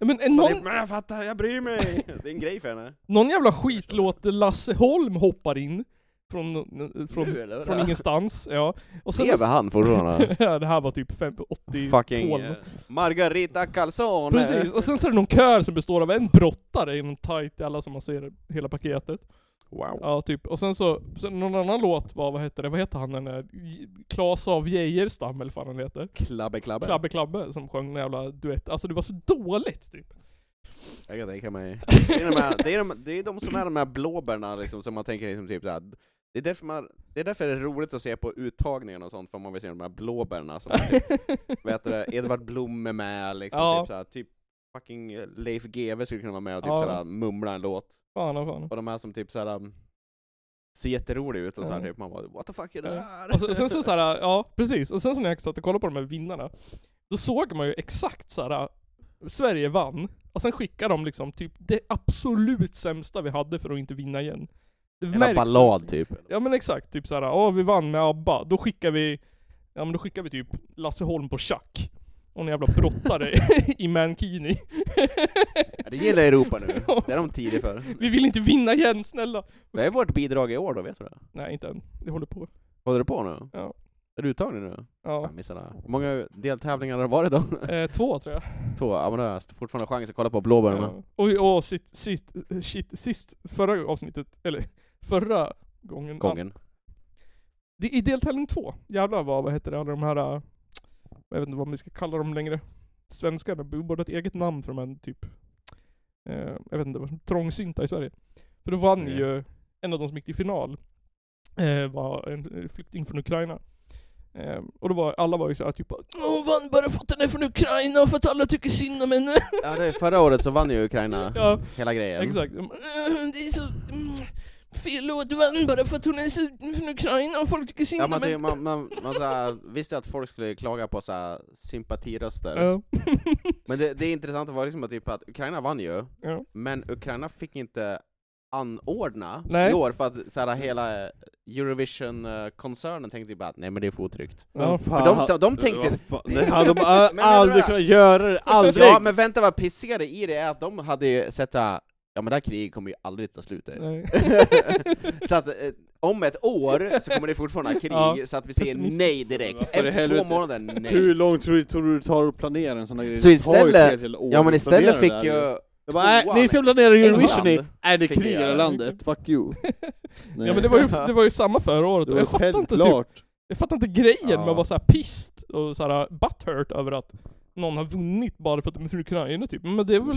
[SPEAKER 1] Men eh,
[SPEAKER 5] Hon...
[SPEAKER 1] någon,
[SPEAKER 5] Men jag fattar, jag bryr mig! Det är en grej för henne.
[SPEAKER 1] någon jävla skitlåt där Lasse Holm hoppar in. Från, eh,
[SPEAKER 5] Nu,
[SPEAKER 1] från,
[SPEAKER 5] eller?
[SPEAKER 1] från ingenstans, ja. Och sen
[SPEAKER 5] Lever han fortfarande?
[SPEAKER 1] Ja, det här var typ fem- 82
[SPEAKER 5] Fucking eh, Margarita Calzone!
[SPEAKER 1] Precis, och sen så är det någon kör som består av en brottare i någon tight, alla som man ser hela paketet.
[SPEAKER 5] Wow.
[SPEAKER 1] Ja, typ. Och sen så, sen någon annan låt var, vad hette det, vad heter han den där, J- Klas av Geijerstam eller vad fan han heter.
[SPEAKER 5] Klabbe klabbe.
[SPEAKER 1] Klabbe Klabbe som sjöng en jävla duett. Alltså det var så dåligt typ.
[SPEAKER 5] Jag kan tänka mig. Det är, de här, det, är de, det är de som är de här blåbärna liksom, som man tänker liksom, typ såhär. Det är, därför man, det är därför det är roligt att se på uttagningarna och sånt, för man vill se de här blåbärna som typ, vad heter det, Edvard Blom är med liksom,
[SPEAKER 1] Ja.
[SPEAKER 5] typ såhär, typ fucking Leif GW skulle kunna vara med och typ
[SPEAKER 1] Ja.
[SPEAKER 5] såhär, mumla en låt.
[SPEAKER 1] fan och fan.
[SPEAKER 5] Och de här som typ såhär um, ser jätteroliga ut och såhär,
[SPEAKER 1] Ja.
[SPEAKER 5] typ, man bara what the fuck är det
[SPEAKER 1] Ja.
[SPEAKER 5] här?
[SPEAKER 1] Och sen, sen så, så här, ja precis. Och sen så när jag satt och kollade på de här vinnarna, då såg man ju exakt så här. Sverige vann, och sen skickade de liksom typ det absolut sämsta vi hade för att inte vinna igen. Det
[SPEAKER 5] en
[SPEAKER 1] märks
[SPEAKER 5] ballad typ.
[SPEAKER 1] Ja men exakt, typ såhär, ja vi vann med ABBA, då skickar vi, ja men då skickar vi typ Lasse Holm på schack. Och en jävla brottare i mankini.
[SPEAKER 5] Ja, det gillar Europa nu, det är de tidiga för.
[SPEAKER 1] vi vill inte vinna igen, snälla!
[SPEAKER 5] Det är vårt bidrag i år då, vet du det?
[SPEAKER 1] Nej inte än, det håller på.
[SPEAKER 5] Håller du på nu?
[SPEAKER 1] Ja.
[SPEAKER 5] Är du uttagen nu?
[SPEAKER 1] Ja.
[SPEAKER 5] Jag missade det. Hur många deltävlingar har det varit då?
[SPEAKER 1] Eh, två tror jag.
[SPEAKER 5] Två? Ja men det är fortfarande chans att kolla på blåbären va?
[SPEAKER 1] Ja. Och, och sitt, sitt, shit, sist, förra avsnittet, eller förra gången.
[SPEAKER 5] Gången.
[SPEAKER 1] Det, I deltävling två, jävlar vad, vad heter det, alla de här, äh, jag vet inte vad man ska kalla dem längre. Svenskarna, vi borde ha ett eget namn för de här typ, eh, jag vet inte, vad, trångsynta i Sverige. För då vann
[SPEAKER 5] Mm.
[SPEAKER 1] ju, en av de som gick till final, eh, var en eh, flykting från Ukraina. Eh, och då var, alla var ju såhär typ bara, Åh, vann bara för att den är från Ukraina för att alla tycker synd om henne.
[SPEAKER 5] Ja, det, förra året så vann ju Ukraina
[SPEAKER 1] ja.
[SPEAKER 5] hela grejen.
[SPEAKER 1] Exakt. De bara, "Äh, Det är så... mm, Fel låt vann bara för att hon är så från Ukraina och folk tycker synd
[SPEAKER 5] Ja,
[SPEAKER 1] om
[SPEAKER 5] man, ty-
[SPEAKER 1] henne.
[SPEAKER 5] man, man, man såhär, visste att folk skulle klaga på såhär, sympatiröster.
[SPEAKER 1] Ja.
[SPEAKER 5] Men det, det är intressant var liksom att, typ, att Ukraina vann ju,
[SPEAKER 1] Ja.
[SPEAKER 5] men Ukraina fick inte anordna
[SPEAKER 1] Nej.
[SPEAKER 5] i år för att såhär, hela eh, Eurovision-koncernen tänkte typ att nej men det är för otryggt.
[SPEAKER 1] Ja.
[SPEAKER 5] För de, de, de tänkte
[SPEAKER 4] Det hade de
[SPEAKER 5] Men
[SPEAKER 4] aldrig
[SPEAKER 5] menar du
[SPEAKER 4] kunnat göra, det, aldrig!
[SPEAKER 5] Ja men vänta vad pissigare i det är att de hade ju sett såhär, ja men det här kriget kommer ju aldrig ta slut.
[SPEAKER 1] Nej.
[SPEAKER 5] så att eh, om ett år så kommer det fortfarande ha krig,
[SPEAKER 1] Ja,
[SPEAKER 5] så att vi säger
[SPEAKER 1] pessimistiskt.
[SPEAKER 5] nej direkt.
[SPEAKER 4] Varför i
[SPEAKER 5] Efter två
[SPEAKER 4] helvete?
[SPEAKER 5] månader, nej.
[SPEAKER 4] Hur lång tror du, tror du det tar att planera en sån här grej?
[SPEAKER 5] Så
[SPEAKER 4] Det tar ju
[SPEAKER 5] istället-
[SPEAKER 4] ett helt jävla år
[SPEAKER 5] Ja men
[SPEAKER 4] att
[SPEAKER 5] istället
[SPEAKER 4] planera
[SPEAKER 5] fick
[SPEAKER 4] det där
[SPEAKER 5] ju...
[SPEAKER 4] Jag bara, nej,
[SPEAKER 5] Tvåan.
[SPEAKER 4] ni ska planera Eurovision i...
[SPEAKER 5] England
[SPEAKER 4] Nej, det är
[SPEAKER 5] fick
[SPEAKER 4] krig i det
[SPEAKER 5] göra.
[SPEAKER 4] här landet, fuck you. Nej.
[SPEAKER 1] ja men det var, ju, det var ju samma förra året
[SPEAKER 4] Det
[SPEAKER 1] och
[SPEAKER 4] var
[SPEAKER 1] jag fattar inte typ,
[SPEAKER 4] självklart.
[SPEAKER 1] Jag fattar inte grejen med
[SPEAKER 5] Ja.
[SPEAKER 1] att vara såhär pissed och såhär butthurt över att någon har vunnit bara för att de är från Ukraina typ. Men det är väl...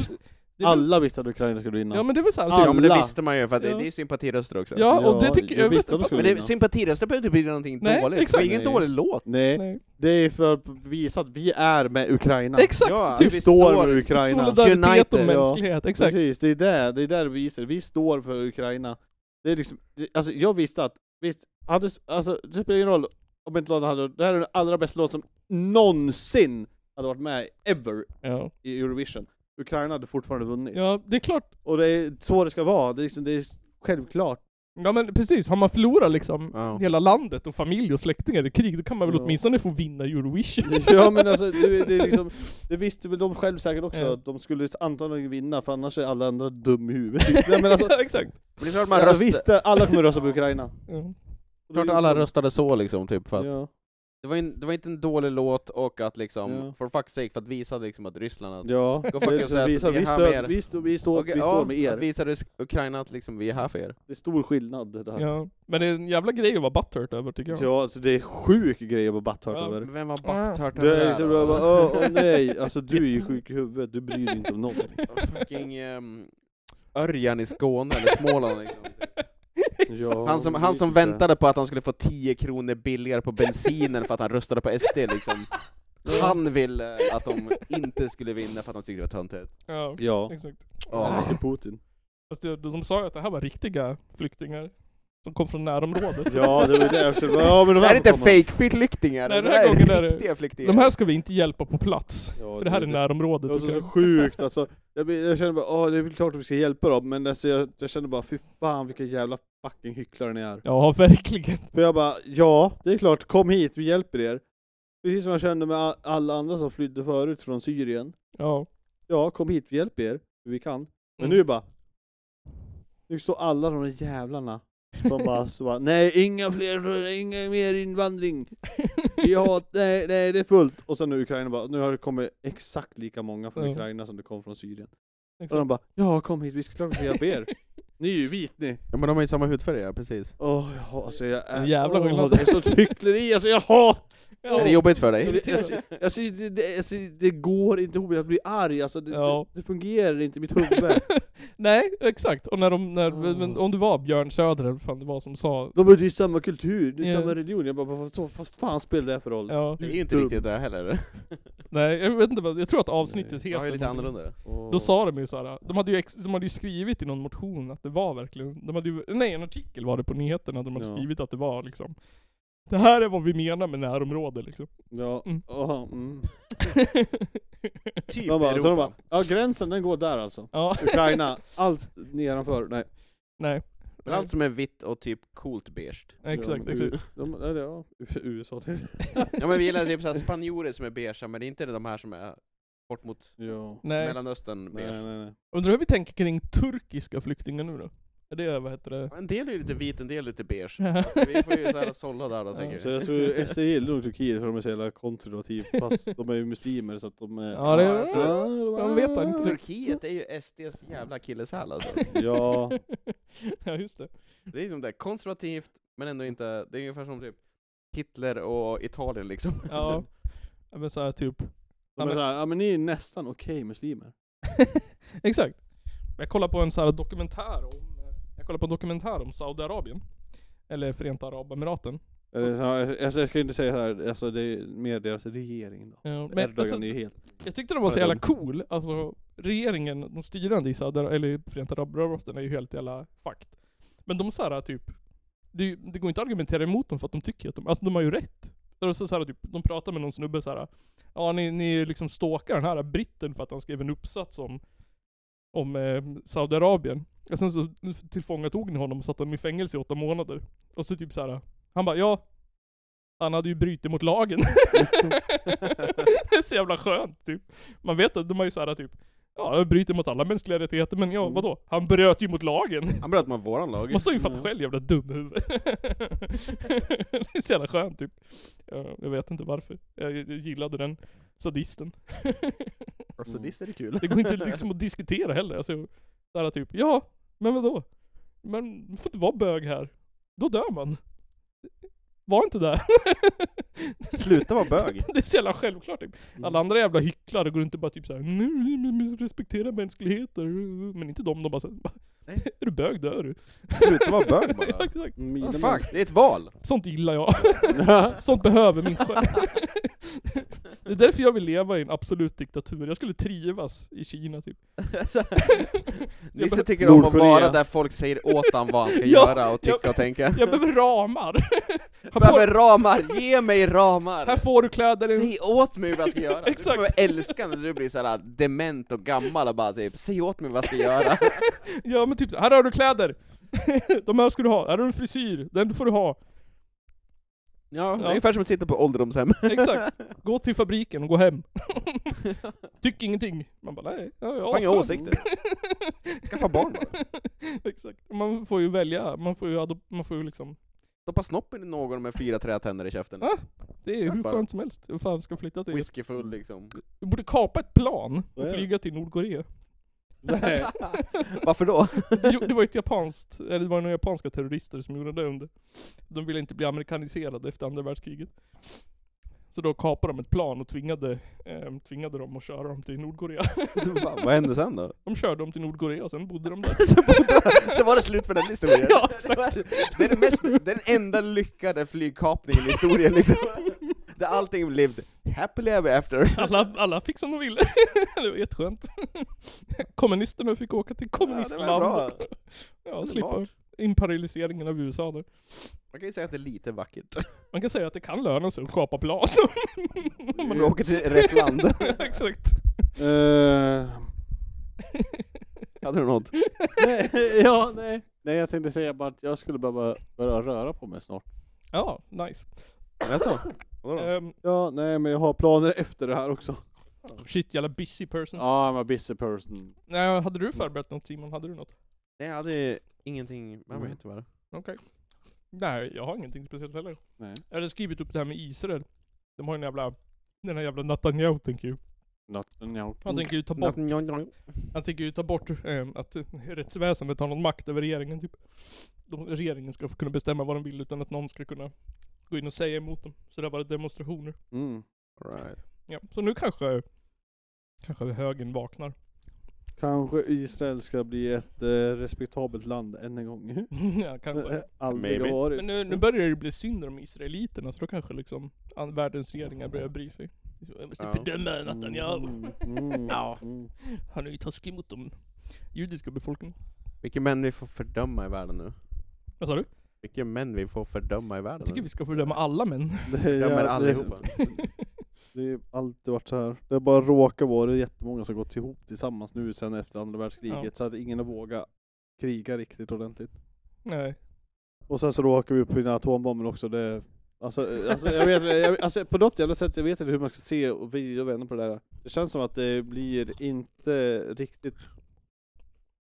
[SPEAKER 1] Det är väl
[SPEAKER 4] Alla visste att Ukraina skulle vinna.
[SPEAKER 1] ja men det är väl såhär
[SPEAKER 5] Ja
[SPEAKER 1] typ,
[SPEAKER 5] men det
[SPEAKER 4] Alla.
[SPEAKER 5] visste man ju för att det,
[SPEAKER 1] Ja.
[SPEAKER 5] det är ju sympatiröster också.
[SPEAKER 1] Ja och det tycker
[SPEAKER 4] jag
[SPEAKER 1] jag... vet
[SPEAKER 4] visste
[SPEAKER 1] inte
[SPEAKER 4] att de
[SPEAKER 1] fan-
[SPEAKER 5] Men det, sympatiröster behöver inte bli någonting
[SPEAKER 1] Nej,
[SPEAKER 5] dåligt,
[SPEAKER 1] exakt.
[SPEAKER 5] det är ju ingen
[SPEAKER 4] Nej.
[SPEAKER 5] dålig låt.
[SPEAKER 4] Nej,
[SPEAKER 1] Nej.
[SPEAKER 4] det är för att visa att vi är med Ukraina.
[SPEAKER 1] Exakt!
[SPEAKER 5] Ja,
[SPEAKER 1] typ
[SPEAKER 5] vi
[SPEAKER 4] Vi står
[SPEAKER 5] står-
[SPEAKER 4] med Ukraina.
[SPEAKER 1] solidaritet och
[SPEAKER 5] United,
[SPEAKER 4] ja.
[SPEAKER 1] mänsklighet, exakt.
[SPEAKER 4] Precis, det är det, det är där vi visar. Vi står för Ukraina. Det är liksom, det, alltså jag visste att, visst, hade, alltså det spelar ingen roll om inte låten hade, det här är den allra bästa låt som någonsin hade varit med ever
[SPEAKER 1] Ja.
[SPEAKER 4] i Eurovision. Ukraina hade fortfarande vunnit.
[SPEAKER 1] ja, det är klart
[SPEAKER 4] Och det är så det ska vara, det är, liksom, det är självklart.
[SPEAKER 1] Ja men precis, har man förlorat liksom
[SPEAKER 5] Ja.
[SPEAKER 1] hela landet och familj och släktingar i krig, då kan man väl
[SPEAKER 4] Ja.
[SPEAKER 1] åtminstone få vinna Eurovision?
[SPEAKER 4] ja men alltså, det, det, är liksom, det visste väl de själv säkert också,
[SPEAKER 1] Ja.
[SPEAKER 4] att de skulle antagligen vinna för annars är alla andra dum i huvudet. Nej, men alltså,
[SPEAKER 1] ja, exakt.
[SPEAKER 5] Men det är klart man
[SPEAKER 4] jag
[SPEAKER 5] röst,
[SPEAKER 4] visste, alla kommer rösta på Ukraina.
[SPEAKER 1] Ja.
[SPEAKER 5] klart alla röstade så liksom, typ för att
[SPEAKER 4] Ja.
[SPEAKER 5] det, var en, det var inte en dålig låt och att liksom,
[SPEAKER 4] Ja.
[SPEAKER 5] for fuck's sake, för att visa liksom att Ryssland att
[SPEAKER 4] Ja,
[SPEAKER 5] Gå fuck
[SPEAKER 4] det är
[SPEAKER 5] yourself,
[SPEAKER 4] visa,
[SPEAKER 5] vi är
[SPEAKER 4] vi,
[SPEAKER 5] här
[SPEAKER 4] stöd,
[SPEAKER 5] med er.
[SPEAKER 4] vi, stå, vi, står,
[SPEAKER 5] Okej,
[SPEAKER 4] vi står
[SPEAKER 5] ja,
[SPEAKER 4] med er.
[SPEAKER 5] Att visa Rysk, Ukraina att liksom, vi är här för er.
[SPEAKER 4] Det är stor skillnad det här. Ja,
[SPEAKER 1] Ja. Men det är en jävla grej att vara butthurt över tycker jag.
[SPEAKER 4] alltså det är sjuk grej att vara batthört
[SPEAKER 1] Ja,
[SPEAKER 4] över.
[SPEAKER 5] Men vem har
[SPEAKER 1] Ja.
[SPEAKER 5] butthört över
[SPEAKER 4] Du
[SPEAKER 5] det
[SPEAKER 4] är
[SPEAKER 5] här
[SPEAKER 4] liksom
[SPEAKER 5] då?
[SPEAKER 4] bara, åh, åh nej, alltså du är ju sjuk i huvudet, du bryr dig inte om någon. liksom.
[SPEAKER 5] Fucking ehm, Örjan i Skåne eller Småland liksom.
[SPEAKER 4] Ja,
[SPEAKER 5] Han som,
[SPEAKER 4] det
[SPEAKER 5] han
[SPEAKER 4] vet
[SPEAKER 5] som
[SPEAKER 4] inte.
[SPEAKER 5] väntade på att han skulle få 10 kronor billigare på bensinen för att han röstade på SD liksom. Han ville att de inte skulle vinna för att de tyckte det var töntigt.
[SPEAKER 1] Ja,
[SPEAKER 4] Ja,
[SPEAKER 1] exakt.
[SPEAKER 5] Ja.
[SPEAKER 4] älskar Putin.
[SPEAKER 1] Fast det, de sa ju att det här var riktiga flyktingar. Som kom från närområdet.
[SPEAKER 4] Ja, det var det alltså, jag också. Ja, men de
[SPEAKER 5] Det
[SPEAKER 4] här
[SPEAKER 5] här är inte
[SPEAKER 4] får komma.
[SPEAKER 5] fake-flyktingar,
[SPEAKER 1] Nej,
[SPEAKER 5] det
[SPEAKER 1] den här
[SPEAKER 5] här är
[SPEAKER 1] gången är det-
[SPEAKER 5] riktiga flyktingar.
[SPEAKER 1] De här ska vi inte hjälpa på plats.
[SPEAKER 4] Ja,
[SPEAKER 1] För det här är
[SPEAKER 4] Det
[SPEAKER 1] närområdet.
[SPEAKER 4] var
[SPEAKER 1] tycker
[SPEAKER 4] så, så
[SPEAKER 1] jag.
[SPEAKER 4] sjukt alltså. Jag, blir- jag känner bara, åh det är väl klart att vi ska hjälpa dem, men alltså, jag, jag känner bara, fy fan vilka jävla fucking hycklare ni är.
[SPEAKER 1] Ja, verkligen.
[SPEAKER 4] För jag bara, ja, det är klart, kom hit, vi hjälper er. Precis som jag kände med a- alla andra som flydde förut från Syrien.
[SPEAKER 1] Ja.
[SPEAKER 4] Ja, kom hit, vi hjälper er, hur vi kan. Men
[SPEAKER 1] Mm.
[SPEAKER 4] nu bara, nu står alla de där jävlarna som
[SPEAKER 1] Mm.
[SPEAKER 4] bara, så bara nej, inga fler, inga mer invandring. Vi har, nej, nej, det är fullt. Och sen nu Ukraina bara, nu har det kommit exakt lika många från
[SPEAKER 1] Ja.
[SPEAKER 4] Ukraina som det kom från Syrien.
[SPEAKER 1] Exakt.
[SPEAKER 4] Och de bara, ja kom hit, vi ska klart vi ska hjälpa er. Ni är ju vit ni.
[SPEAKER 5] Ja men de har ju samma hudfärg ja, precis.
[SPEAKER 4] Åh, jag, alltså jag är...
[SPEAKER 1] En jävla
[SPEAKER 4] åh,
[SPEAKER 1] skillnad.
[SPEAKER 4] Det är sånt hyckleri, alltså jag hatar
[SPEAKER 5] Är det jobbigt för dig?
[SPEAKER 4] det. Alltså, alltså, det, det, alltså, det går inte ihop, jag blir arg, alltså det,
[SPEAKER 1] Ja.
[SPEAKER 4] det, det fungerar inte i mitt huvud.
[SPEAKER 1] Nej, exakt. Och när de, när,
[SPEAKER 4] Ah.
[SPEAKER 1] men om det var Björn Söder eller vad fan det var som sa...
[SPEAKER 4] De bara, det är samma kultur, det är
[SPEAKER 1] Ja.
[SPEAKER 4] samma religion. Jag bara, vad vad- vad fan spelar det här för roll?
[SPEAKER 1] Ja,
[SPEAKER 5] Det är ju inte
[SPEAKER 4] Dum.
[SPEAKER 5] riktigt det heller.
[SPEAKER 1] nej, jag vet inte vad, jag tror att avsnittet
[SPEAKER 5] Jag har
[SPEAKER 1] heter
[SPEAKER 5] ju lite
[SPEAKER 1] någonting.
[SPEAKER 5] annorlunda.
[SPEAKER 4] Åh.
[SPEAKER 1] Då sa de ju såhär, de hade ju, ex, de hade ju skrivit i någon motion att det var verkligen, de hade ju, nej en artikel var det på nyheterna där de hade
[SPEAKER 4] Ja.
[SPEAKER 1] skrivit att det var liksom Det här är vad vi menar med närområde liksom.
[SPEAKER 4] Ja,
[SPEAKER 1] Mm.
[SPEAKER 4] aha, mm.
[SPEAKER 5] Typ
[SPEAKER 4] De bara, så de bara,
[SPEAKER 5] Europa.
[SPEAKER 4] ja gränsen den går där alltså.
[SPEAKER 1] ja,
[SPEAKER 4] Ukraina, allt nedanför, nej.
[SPEAKER 1] nej.
[SPEAKER 5] Men allt som är vitt och typ coolt beige.
[SPEAKER 1] Exakt,
[SPEAKER 4] de,
[SPEAKER 1] exakt.
[SPEAKER 4] De, de, ja, USA tänkte jag.
[SPEAKER 5] Ja men vi gillar typ såhär spanjorer som är beige men det är inte de här som är bort mot
[SPEAKER 4] Ja.
[SPEAKER 1] Nej.
[SPEAKER 5] Mellanöstern
[SPEAKER 4] Nej,
[SPEAKER 5] beige.
[SPEAKER 4] nej, nej.
[SPEAKER 1] Undrar hur vi tänker kring turkiska flyktingar nu då? Det är vad heter det?
[SPEAKER 5] En del är ju lite vit, en del är lite beige. Vi får ju så här sålla där då, tänker
[SPEAKER 4] Så
[SPEAKER 5] vi.
[SPEAKER 4] Alltså, jag tror SE gillar nog Turkiet för de är så jävla konservativa, fast de är ju muslimer så att de är...
[SPEAKER 1] Ja, det-
[SPEAKER 4] jag tror-
[SPEAKER 1] man vet inte.
[SPEAKER 5] Turkiet är ju SDs jävla akilleshäl alltså.
[SPEAKER 4] Ja,
[SPEAKER 1] ja, just det.
[SPEAKER 5] Det är liksom det, konservativt, men ändå inte, det är ungefär som typ Hitler och Italien liksom.
[SPEAKER 1] Ja. Ja, Men så här, typ.
[SPEAKER 4] de är
[SPEAKER 1] men-
[SPEAKER 4] såhär, ja men ni är nästan okej muslimer.
[SPEAKER 1] Exakt. Jag kollar på en så här dokumentär om, jag kollar på en dokumentär om Saudiarabien. Eller Förenta Arabemiraten.
[SPEAKER 4] Eller så här, Alltså, jag ska inte säga såhär, alltså det är mer deras regering då.
[SPEAKER 1] Ja,
[SPEAKER 4] Men,
[SPEAKER 1] men,
[SPEAKER 4] Erdogan
[SPEAKER 1] alltså,
[SPEAKER 4] är ju helt...
[SPEAKER 1] jag tyckte den var så
[SPEAKER 4] Ja,
[SPEAKER 1] jävla
[SPEAKER 4] de-
[SPEAKER 1] cool. Alltså regeringen, de styrande i Saudiarabien, eller i Förenta Arabemiraten är ju helt jävla fakt. Men de så här typ, det, är ju- det går inte att argumentera emot dem för att de tycker att de, alltså de har ju rätt. Och så så här, typ, de pratar med någon snubbe så här. Ja ni, ni liksom stalkar den här britten för att han skrev en uppsats om, om eh, Saudiarabien. Och sen så tillfångatog ni honom och satte honom i fängelse i åtta månader. Och så typ så här. han bara ja, han hade ju brutit mot lagen. det är så jävla skönt typ. Man vet att de har ju såhär typ, ja han bryter mot alla mänskliga rättigheter men ja vadå? Han bröt ju mot lagen.
[SPEAKER 5] Han bröt mot våran lag.
[SPEAKER 1] Man står ju och fattar själv jävla dumhuvud. det är så jävla skönt typ. Ja, Jag vet inte varför. Jag, jag gillade den sadisten.
[SPEAKER 5] Alltså det är det kul.
[SPEAKER 1] Det går inte liksom att diskutera heller. Alltså, där typ, ja, men vadå? Men man får inte vara bög här. Då dör man. Var inte där.
[SPEAKER 5] Sluta vara bög. Mm.
[SPEAKER 1] Det är så jävla självklart typ. Alla andra jävla hycklare går inte bara typ såhär nu nu- nu respektera mänskligheter. Men inte de, de bara såhär
[SPEAKER 5] Nej.
[SPEAKER 1] Är du bög dör du.
[SPEAKER 5] Sluta vara bög
[SPEAKER 1] Ja,
[SPEAKER 5] bara.
[SPEAKER 1] exakt.
[SPEAKER 4] Mina
[SPEAKER 5] Vad fuck, det är ett val.
[SPEAKER 1] Sånt gillar jag. Sånt behöver min själ. Det är därför jag vill leva i en absolut diktatur. Jag skulle trivas i Kina typ.
[SPEAKER 5] Alltså, Nisse tycker om att
[SPEAKER 4] Nordkorea.
[SPEAKER 5] vara där folk säger åt han vad han ska
[SPEAKER 1] Ja,
[SPEAKER 5] göra och tycka och tänka.
[SPEAKER 1] Jag behöver ramar. Här,
[SPEAKER 5] Jag behöver
[SPEAKER 1] får,
[SPEAKER 5] ramar, ge mig ramar!
[SPEAKER 1] här får du kläder.
[SPEAKER 5] Säg åt mig vad jag ska göra!
[SPEAKER 1] Exakt.
[SPEAKER 5] Du kommer älska när du blir såhär dement och gammal och bara typ Säg åt mig vad jag ska göra!
[SPEAKER 1] Ja men typ så, här har du kläder. De här ska du ha. Här har du en frisyr. Den får du ha.
[SPEAKER 5] Ja, det är
[SPEAKER 1] Ja.
[SPEAKER 5] ungefär som att sitta på ålderdomshem.
[SPEAKER 1] Exakt. Gå till fabriken och gå hem. Tyck ingenting. Man bara nej. Ja, jag
[SPEAKER 5] Har inga
[SPEAKER 1] avstår.
[SPEAKER 5] åsikter. Skaffa barn bara.
[SPEAKER 1] Exakt. Man får ju välja. Man får ju, adop- man får ju liksom...
[SPEAKER 5] Stoppa snoppen i någon med fyra trätänder i käften.
[SPEAKER 1] Ja, Det är ju hur
[SPEAKER 5] Bara-
[SPEAKER 1] skönt som helst. Hur fan ska jag flytta till?
[SPEAKER 5] Whiskyfull liksom.
[SPEAKER 1] Du borde kapa ett plan
[SPEAKER 4] Vad
[SPEAKER 1] och
[SPEAKER 4] är det?
[SPEAKER 1] flyga till Nordkorea.
[SPEAKER 4] Nej.
[SPEAKER 5] Varför då?
[SPEAKER 1] Det gjo- det var ju ett japanskt, eller det var några japanska terrorister som gjorde det under. De ville inte bli amerikaniserade efter andra världskriget. Så då kapade de ett plan och tvingade, eh, tvingade dem att köra dem till Nordkorea.
[SPEAKER 5] Vad hände sen då?
[SPEAKER 1] De körde dem till Nordkorea och sen bodde de där.
[SPEAKER 5] så, bodde, så var det slut för den historien.
[SPEAKER 1] Ja, exakt.
[SPEAKER 5] Det är den, mest, det är den enda lyckade flygkapningen i historien liksom. Där allting lived happily ever after.
[SPEAKER 1] Alla, alla fick som de ville. det var jätteskönt. Kommunisterna fick åka till kommunistland. Ja, slippa
[SPEAKER 5] Underbart.
[SPEAKER 1] imperialiseringen av USA där.
[SPEAKER 5] Man kan ju säga att det är lite vackert.
[SPEAKER 1] Man kan säga att det kan löna sig att kapa plan.
[SPEAKER 5] Man åker till rätt land.
[SPEAKER 1] Exakt.
[SPEAKER 4] Eh,
[SPEAKER 5] Hade du något?
[SPEAKER 4] ja, nej. Nej, jag tänkte säga bara att jag skulle behöva börja röra på mig snart.
[SPEAKER 1] Ja, nice.
[SPEAKER 5] Jaså? alltså, Vadå då?
[SPEAKER 1] Ehm,
[SPEAKER 4] Ja, nej men jag har planer efter det här också.
[SPEAKER 1] shit, jävla busy person.
[SPEAKER 4] Ja, Ah, I'm a busy person.
[SPEAKER 1] Nej, hade du förberett något Simon? Hade du något?
[SPEAKER 5] Nej, jag hade ingenting med mig tyvärr.
[SPEAKER 1] Okej. Nej, jag har ingenting speciellt heller.
[SPEAKER 4] Nej.
[SPEAKER 1] Jag hade skrivit upp det här med Israel. De har ju en jävla, den här jävla Netanyahu tänker ju.
[SPEAKER 4] Not, no.
[SPEAKER 1] Han tänker ju ta bort, han tänker ju ta bort eh, att eh, rättsväsendet har någon makt över regeringen typ. De, regeringen ska få kunna bestämma vad de vill utan att någon ska kunna gå in och säga emot dem. Så det har varit demonstrationer.
[SPEAKER 4] Mm.
[SPEAKER 5] Right.
[SPEAKER 1] Ja, så nu kanske, kanske högern vaknar.
[SPEAKER 4] Kanske Israel ska bli ett eh, respektabelt land än en gång.
[SPEAKER 1] ja,
[SPEAKER 4] Eh,
[SPEAKER 1] kanske.
[SPEAKER 4] Aldrig
[SPEAKER 5] Maybe.
[SPEAKER 4] har varit.
[SPEAKER 1] Men nu, nu börjar det ju bli synd om israeliterna, så då kanske liksom an- världens regeringar börjar bry sig. Jag måste
[SPEAKER 5] Ja.
[SPEAKER 1] fördöma Netanyahu.
[SPEAKER 4] mm,
[SPEAKER 1] Ja.
[SPEAKER 4] mm.
[SPEAKER 1] Han är ju taskig mot den judiska befolkningen.
[SPEAKER 5] Vilka män vi får fördöma i världen nu?
[SPEAKER 1] Vad sa du?
[SPEAKER 5] Vilka män vi får fördöma i
[SPEAKER 1] Jag
[SPEAKER 5] världen
[SPEAKER 1] tycker
[SPEAKER 5] nu?
[SPEAKER 1] vi ska fördöma alla män.
[SPEAKER 4] Det,
[SPEAKER 5] Ja,
[SPEAKER 4] jag-
[SPEAKER 5] men
[SPEAKER 4] det-
[SPEAKER 5] allihopa.
[SPEAKER 4] Det har alltid varit så här. Det har bara råkat vara jättemånga som gått ihop tillsammans nu sen efter andra världskriget
[SPEAKER 1] Ja.
[SPEAKER 4] så att ingen har vågat kriga riktigt ordentligt.
[SPEAKER 1] Nej.
[SPEAKER 4] Och sen så råkar vi uppfinna atombomben också. Det, alltså, eh, alltså, jag vet, jag, alltså, på något jävla sätt, jag vet inte hur man ska se och vrida och vända på det där. Det känns som att det blir inte riktigt...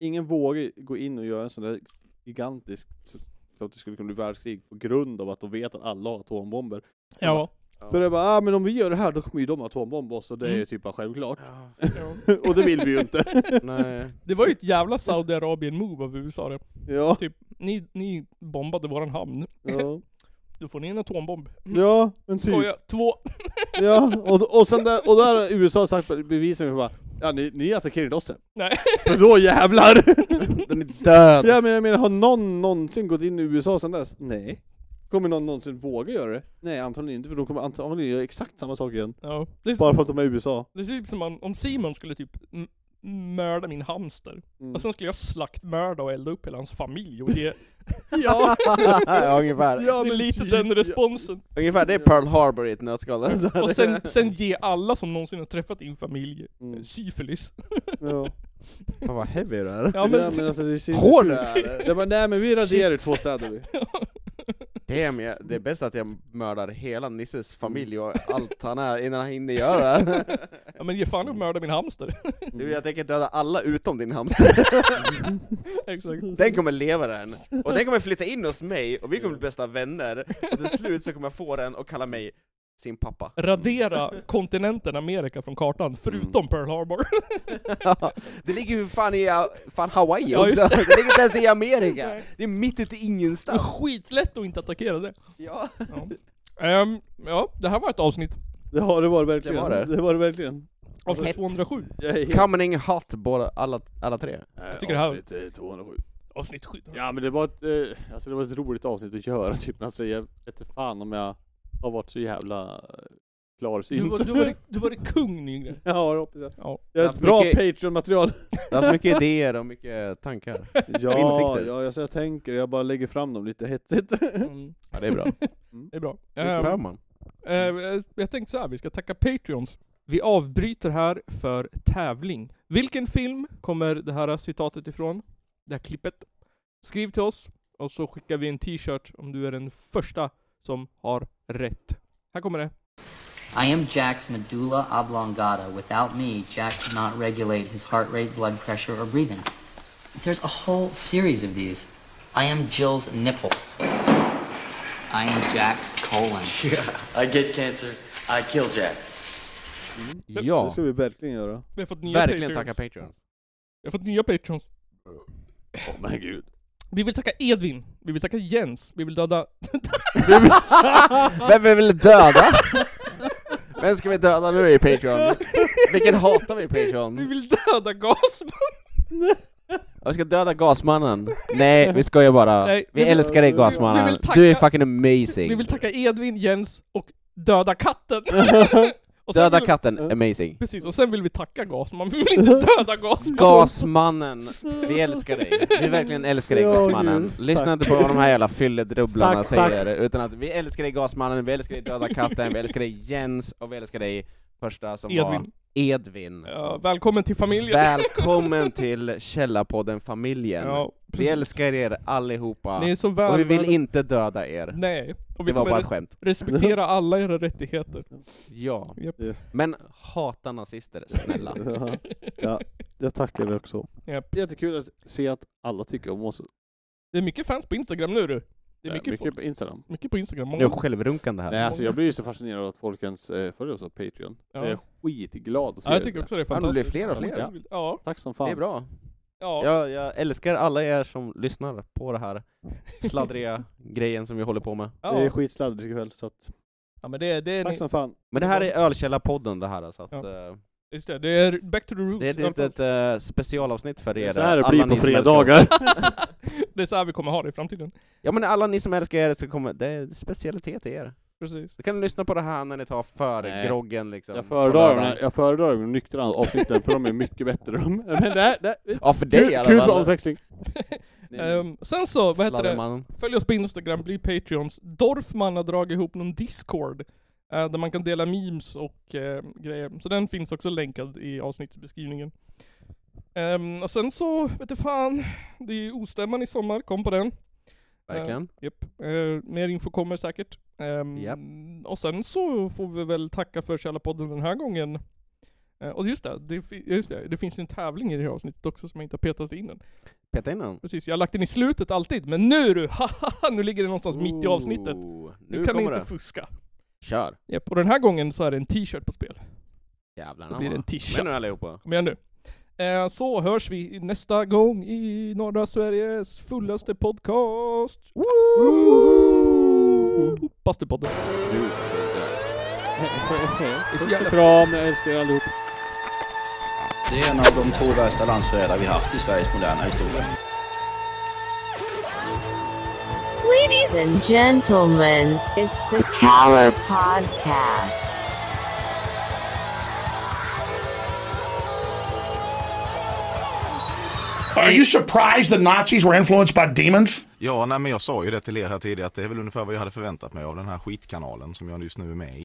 [SPEAKER 4] Ingen vågar gå in och göra en sån där gigantiskt så- så att det skulle kunna bli världskrig på grund av att de vet att alla har atombomber.
[SPEAKER 1] Ja.
[SPEAKER 4] Så det är bara, ah, men om vi gör det här då kommer ju de atombomba oss och det är ju
[SPEAKER 1] Mm.
[SPEAKER 4] typ bara självklart.
[SPEAKER 5] Ja,
[SPEAKER 1] ja.
[SPEAKER 4] och det vill vi ju inte.
[SPEAKER 5] nej.
[SPEAKER 1] Det var ju ett jävla Saudiarabien-move av USA det.
[SPEAKER 4] ja,
[SPEAKER 1] Ni, ni bombade våran hamn.
[SPEAKER 4] ja,
[SPEAKER 1] Då får ni en atombomb.
[SPEAKER 4] ja, men typ.
[SPEAKER 1] Skoja, två.
[SPEAKER 4] Ja, och, och, sen där, och där har USA sagt bevisen för bara, ja ni, ni attackerar inte oss sen.
[SPEAKER 1] Nej.
[SPEAKER 4] För då jävlar!
[SPEAKER 5] Den är död!
[SPEAKER 4] Ja men jag menar, har någon någonsin gått in i USA sedan dess? Nej. Kommer någon någonsin våga göra det? Nej antagligen inte, för de kommer antagligen göra exakt samma sak igen.
[SPEAKER 1] Ja. Det, är,
[SPEAKER 4] Bara för att de är i USA.
[SPEAKER 1] det är typ som om- om Simon skulle typ m- mörda min hamster.
[SPEAKER 4] Mm.
[SPEAKER 1] Och sen skulle jag slaktmörda och elda upp hela hans familj och ge...
[SPEAKER 4] Ja!
[SPEAKER 5] ja, ungefär.
[SPEAKER 4] ja Alltså,
[SPEAKER 1] det är lite
[SPEAKER 4] typ,
[SPEAKER 1] den responsen.
[SPEAKER 5] Ungefär, det är Pearl Harbor i ett nötskal.
[SPEAKER 1] Och sen, sen ge alla som någonsin har träffat din familj
[SPEAKER 4] Mm.
[SPEAKER 1] syfilis.
[SPEAKER 4] Ja.
[SPEAKER 5] Fan vad heavy du är.
[SPEAKER 1] Ja
[SPEAKER 4] Ja,
[SPEAKER 1] men...
[SPEAKER 4] men alltså, det är
[SPEAKER 5] Hård du är!
[SPEAKER 4] Det bara, nej men vi raderar ut två städer vi.
[SPEAKER 5] Damn, jag, det är bäst att jag mördar hela Nisses familj och allt han är innan han hinner göra det här.
[SPEAKER 1] Ja men ge fan i att mörda min hamster.
[SPEAKER 5] Du, jag tänker döda alla utom din hamster.
[SPEAKER 1] Exakt.
[SPEAKER 5] Den kommer leva den. Och den kommer flytta in hos mig, och vi kommer bli bästa vänner. Och till slut så kommer jag få den och kalla mig sin pappa.
[SPEAKER 1] Radera kontinenten Amerika från kartan,
[SPEAKER 4] Mm.
[SPEAKER 1] förutom Pearl Harbor.
[SPEAKER 5] Det ligger ju fan i uh, fan Hawaii
[SPEAKER 1] Ja, just
[SPEAKER 5] också, det ligger inte ens i Amerika!
[SPEAKER 1] Nej.
[SPEAKER 5] Det är mitt ute i
[SPEAKER 1] Det är
[SPEAKER 5] ingenstans!
[SPEAKER 1] skitlätt att inte attackera det.
[SPEAKER 5] Ja.
[SPEAKER 1] Ja. Ehm, ja, det här var ett avsnitt.
[SPEAKER 4] Det har det varit verkligen.
[SPEAKER 5] Det var det.
[SPEAKER 4] det var det verkligen.
[SPEAKER 1] Avsnitt
[SPEAKER 5] Hett.
[SPEAKER 1] 207.
[SPEAKER 4] Jag är helt-
[SPEAKER 5] Coming hot båda, alla, alla tre.
[SPEAKER 1] tycker det här-
[SPEAKER 4] Avsnitt, eh, 207.
[SPEAKER 1] Avsnitt 7.
[SPEAKER 4] Ja men det var ett, eh, alltså det var ett roligt avsnitt att göra typ, men alltså jag vet inte fan om jag har varit så jävla eh, klarsynt.
[SPEAKER 1] Du var, du, var, du var kung Nygren.
[SPEAKER 4] Ja det hoppas jag.
[SPEAKER 1] Ja.
[SPEAKER 4] Jag har
[SPEAKER 5] Haft
[SPEAKER 4] ett bra
[SPEAKER 5] mycket-
[SPEAKER 4] Patreon-material.
[SPEAKER 5] Du har haft mycket idéer och mycket tankar.
[SPEAKER 4] Ja,
[SPEAKER 5] insikter.
[SPEAKER 4] ja alltså jag tänker, jag bara lägger fram dem lite hetsigt.
[SPEAKER 1] Mm.
[SPEAKER 5] Ja, det är bra.
[SPEAKER 1] Det är bra.
[SPEAKER 5] Det behöver
[SPEAKER 1] Ehm,
[SPEAKER 5] man.
[SPEAKER 1] Eh, jag tänkte så här, vi ska tacka Patreons. Vi avbryter här för tävling. Vilken film kommer det här citatet ifrån? Det här klippet. Skriv till oss och så skickar vi en t-shirt om du är den första som har rätt. Här kommer det.
[SPEAKER 9] I am Jack's medulla oblongata. Without me, Jack cannot regulate his heart rate, blood pressure, or breathing. There's a whole series of these. I am Jill's nipples. I am Jack's colon.
[SPEAKER 10] I get cancer. I kill Jack.
[SPEAKER 4] Det
[SPEAKER 5] Ja,
[SPEAKER 4] ska vi verkligen göra.
[SPEAKER 1] Vi har fått nya
[SPEAKER 5] verkligen
[SPEAKER 1] Patreons.
[SPEAKER 5] tacka Patreon.
[SPEAKER 1] Vi har fått nya Patreons.
[SPEAKER 5] oh,
[SPEAKER 4] Åh men gud.
[SPEAKER 1] Vi vill tacka Edvin. Vi vill tacka Jens. Vi vill döda...
[SPEAKER 5] Vem vi vill döda? Vem ska vi döda nu i Patreon? Vilken hatar vi i
[SPEAKER 1] vi
[SPEAKER 5] Patreon?
[SPEAKER 1] vill döda Gasman.
[SPEAKER 5] Ja, Vi ska döda Gasmannen. Nej, vi skojar bara.
[SPEAKER 1] Nej,
[SPEAKER 5] vi
[SPEAKER 1] vi-
[SPEAKER 5] älskar dig
[SPEAKER 4] vi-
[SPEAKER 1] vi
[SPEAKER 5] Gasmannen.
[SPEAKER 1] vill tacka-
[SPEAKER 5] Du är fucking
[SPEAKER 1] Vi
[SPEAKER 5] amazing.
[SPEAKER 1] vill tacka Edvin, Jens och döda katten. Och sen
[SPEAKER 5] Döda
[SPEAKER 1] vill-
[SPEAKER 5] katten, amazing.
[SPEAKER 1] Precis, och sen vill vi tacka Gasman. Vi vill inte döda Gasman.
[SPEAKER 5] Gasmannen, vi älskar dig. Vi verkligen älskar dig
[SPEAKER 4] Ja,
[SPEAKER 5] Gasmannen.
[SPEAKER 4] Gud.
[SPEAKER 5] Lyssna
[SPEAKER 4] Tack.
[SPEAKER 5] inte på vad de här jävla fylledrubblarna
[SPEAKER 4] Tack, tack.
[SPEAKER 5] säger, utan att vi älskar dig Gasmannen, vi älskar dig Döda katten, vi älskar dig Jens, och vi älskar dig första som var
[SPEAKER 1] Edvin.
[SPEAKER 5] Edvin.
[SPEAKER 1] Ja, välkommen till familjen.
[SPEAKER 5] Välkommen till Källarpodden familjen.
[SPEAKER 1] Ja,
[SPEAKER 5] vi
[SPEAKER 1] precis.
[SPEAKER 5] älskar er allihopa,
[SPEAKER 1] Ni är så väl
[SPEAKER 5] och vi vill
[SPEAKER 1] värda-
[SPEAKER 5] inte döda er.
[SPEAKER 1] Nej. Och vi
[SPEAKER 5] Det var
[SPEAKER 1] kommer
[SPEAKER 5] bara ett
[SPEAKER 1] res-
[SPEAKER 5] skämt.
[SPEAKER 1] respektera alla era rättigheter.
[SPEAKER 5] Ja.
[SPEAKER 4] Yes.
[SPEAKER 5] Men hata nazister, snälla.
[SPEAKER 4] Ja. ja, jag tackar dig också.
[SPEAKER 1] Japp.
[SPEAKER 4] Jättekul att se att alla tycker om oss.
[SPEAKER 1] Det är mycket fans på Instagram nu du. Det är mycket,
[SPEAKER 4] mycket
[SPEAKER 1] folk.
[SPEAKER 4] på Instagram.
[SPEAKER 1] mycket på Instagram.
[SPEAKER 5] Nu är
[SPEAKER 1] Många.
[SPEAKER 5] jag självrunkande här.
[SPEAKER 4] Nej alltså jag blir ju så fascinerad av att folk ens eh, följer oss på Patreon.
[SPEAKER 1] Ja.
[SPEAKER 4] Jag är skitglad att se
[SPEAKER 1] Ja, jag
[SPEAKER 4] det.
[SPEAKER 1] tycker också det är
[SPEAKER 5] Ja, det blir
[SPEAKER 1] fantastiskt.
[SPEAKER 5] fler och fler.
[SPEAKER 1] Ja, ja.
[SPEAKER 4] Tack som fan.
[SPEAKER 5] Det är bra.
[SPEAKER 1] ja.
[SPEAKER 5] Jag, jag älskar alla er som lyssnar på det här sladdriga grejen som vi håller på med.
[SPEAKER 4] Det är
[SPEAKER 1] ja.
[SPEAKER 4] skitsladdrigt ikväll så att,
[SPEAKER 1] ja men det, det är...
[SPEAKER 4] tack som fan.
[SPEAKER 5] Men det här är Ölkällarpodden det här, så att,
[SPEAKER 1] Ja. Mm,
[SPEAKER 5] eh,
[SPEAKER 1] Just det, det är back to the roots.
[SPEAKER 5] det är ett
[SPEAKER 1] Välkommen.
[SPEAKER 5] litet eh, specialavsnitt för er.
[SPEAKER 4] Så här det
[SPEAKER 5] alla
[SPEAKER 4] blir
[SPEAKER 5] ni
[SPEAKER 4] på
[SPEAKER 5] som älskar oss.
[SPEAKER 4] fredagar.
[SPEAKER 1] det är så här vi kommer ha det i framtiden.
[SPEAKER 5] Ja men alla ni som älskar er, så kommer, det är specialitet till er.
[SPEAKER 1] Precis.
[SPEAKER 5] Då kan ni lyssna på det här när ni tar för
[SPEAKER 4] Nej.
[SPEAKER 5] groggen liksom.
[SPEAKER 4] Jag
[SPEAKER 5] på
[SPEAKER 4] föredrar,
[SPEAKER 5] lördagen.
[SPEAKER 4] de- jag föredrar de nyktra avsnitten för de är mycket bättre de. Men det, det,
[SPEAKER 5] Ja för dig
[SPEAKER 4] kul,
[SPEAKER 5] i alla
[SPEAKER 4] kul för
[SPEAKER 5] fall.
[SPEAKER 4] omväxling.
[SPEAKER 1] Ehm, sen så, vad heter det?
[SPEAKER 5] Sladdermannen.
[SPEAKER 1] Följ oss på Instagram, bli Patreons. Dorfman har dragit ihop någon Discord eh, där man kan dela memes och eh, grejer. Så den finns också länkad i avsnittsbeskrivningen. Ehm, och sen så, vet du fan, det är ju ostämman i sommar, kom på den.
[SPEAKER 5] Verkligen.
[SPEAKER 1] Japp. Eh, mer info kommer säkert. Ehm,
[SPEAKER 5] Japp.
[SPEAKER 1] Och sen så får vi väl tacka för Källarpodden den här gången. Eh, Och just det, det, fi- just det, det finns ju en tävling i det här avsnittet också som jag inte har petat in än.
[SPEAKER 5] Peta in den.
[SPEAKER 1] Precis, jag har lagt den i slutet alltid, men nu du, haha, nu ligger den någonstans Alltså, mitt i avsnittet.
[SPEAKER 5] Ooh,
[SPEAKER 1] Nu,
[SPEAKER 5] nu
[SPEAKER 1] kan ni
[SPEAKER 5] kommer
[SPEAKER 1] inte
[SPEAKER 5] det.
[SPEAKER 1] fuska.
[SPEAKER 5] Kör.
[SPEAKER 1] Yep, och den här gången så är det en t-shirt på spel.
[SPEAKER 5] Jävlar
[SPEAKER 1] Då blir det en
[SPEAKER 5] anamma.
[SPEAKER 1] tisha.
[SPEAKER 5] Men nu allihopa.
[SPEAKER 1] Kom igen nu. Eh, Så hörs vi nästa gång i norra Sveriges fullaste podcast. Woho! Bastupodden.
[SPEAKER 4] Kram, jag älskar er allihop.
[SPEAKER 2] Det är en av de två värsta landsförrädare vi haft i Sveriges moderna historia.
[SPEAKER 3] Ladies and gentlemen, it's the Caller Podcast.
[SPEAKER 11] Are you surprised the Nazis were influenced by demons?
[SPEAKER 12] Ja, nej, men jag sa ju det till er här tidigare att det är väl ungefär vad jag hade förväntat mig av den här skitkanalen som jag just nu är med i.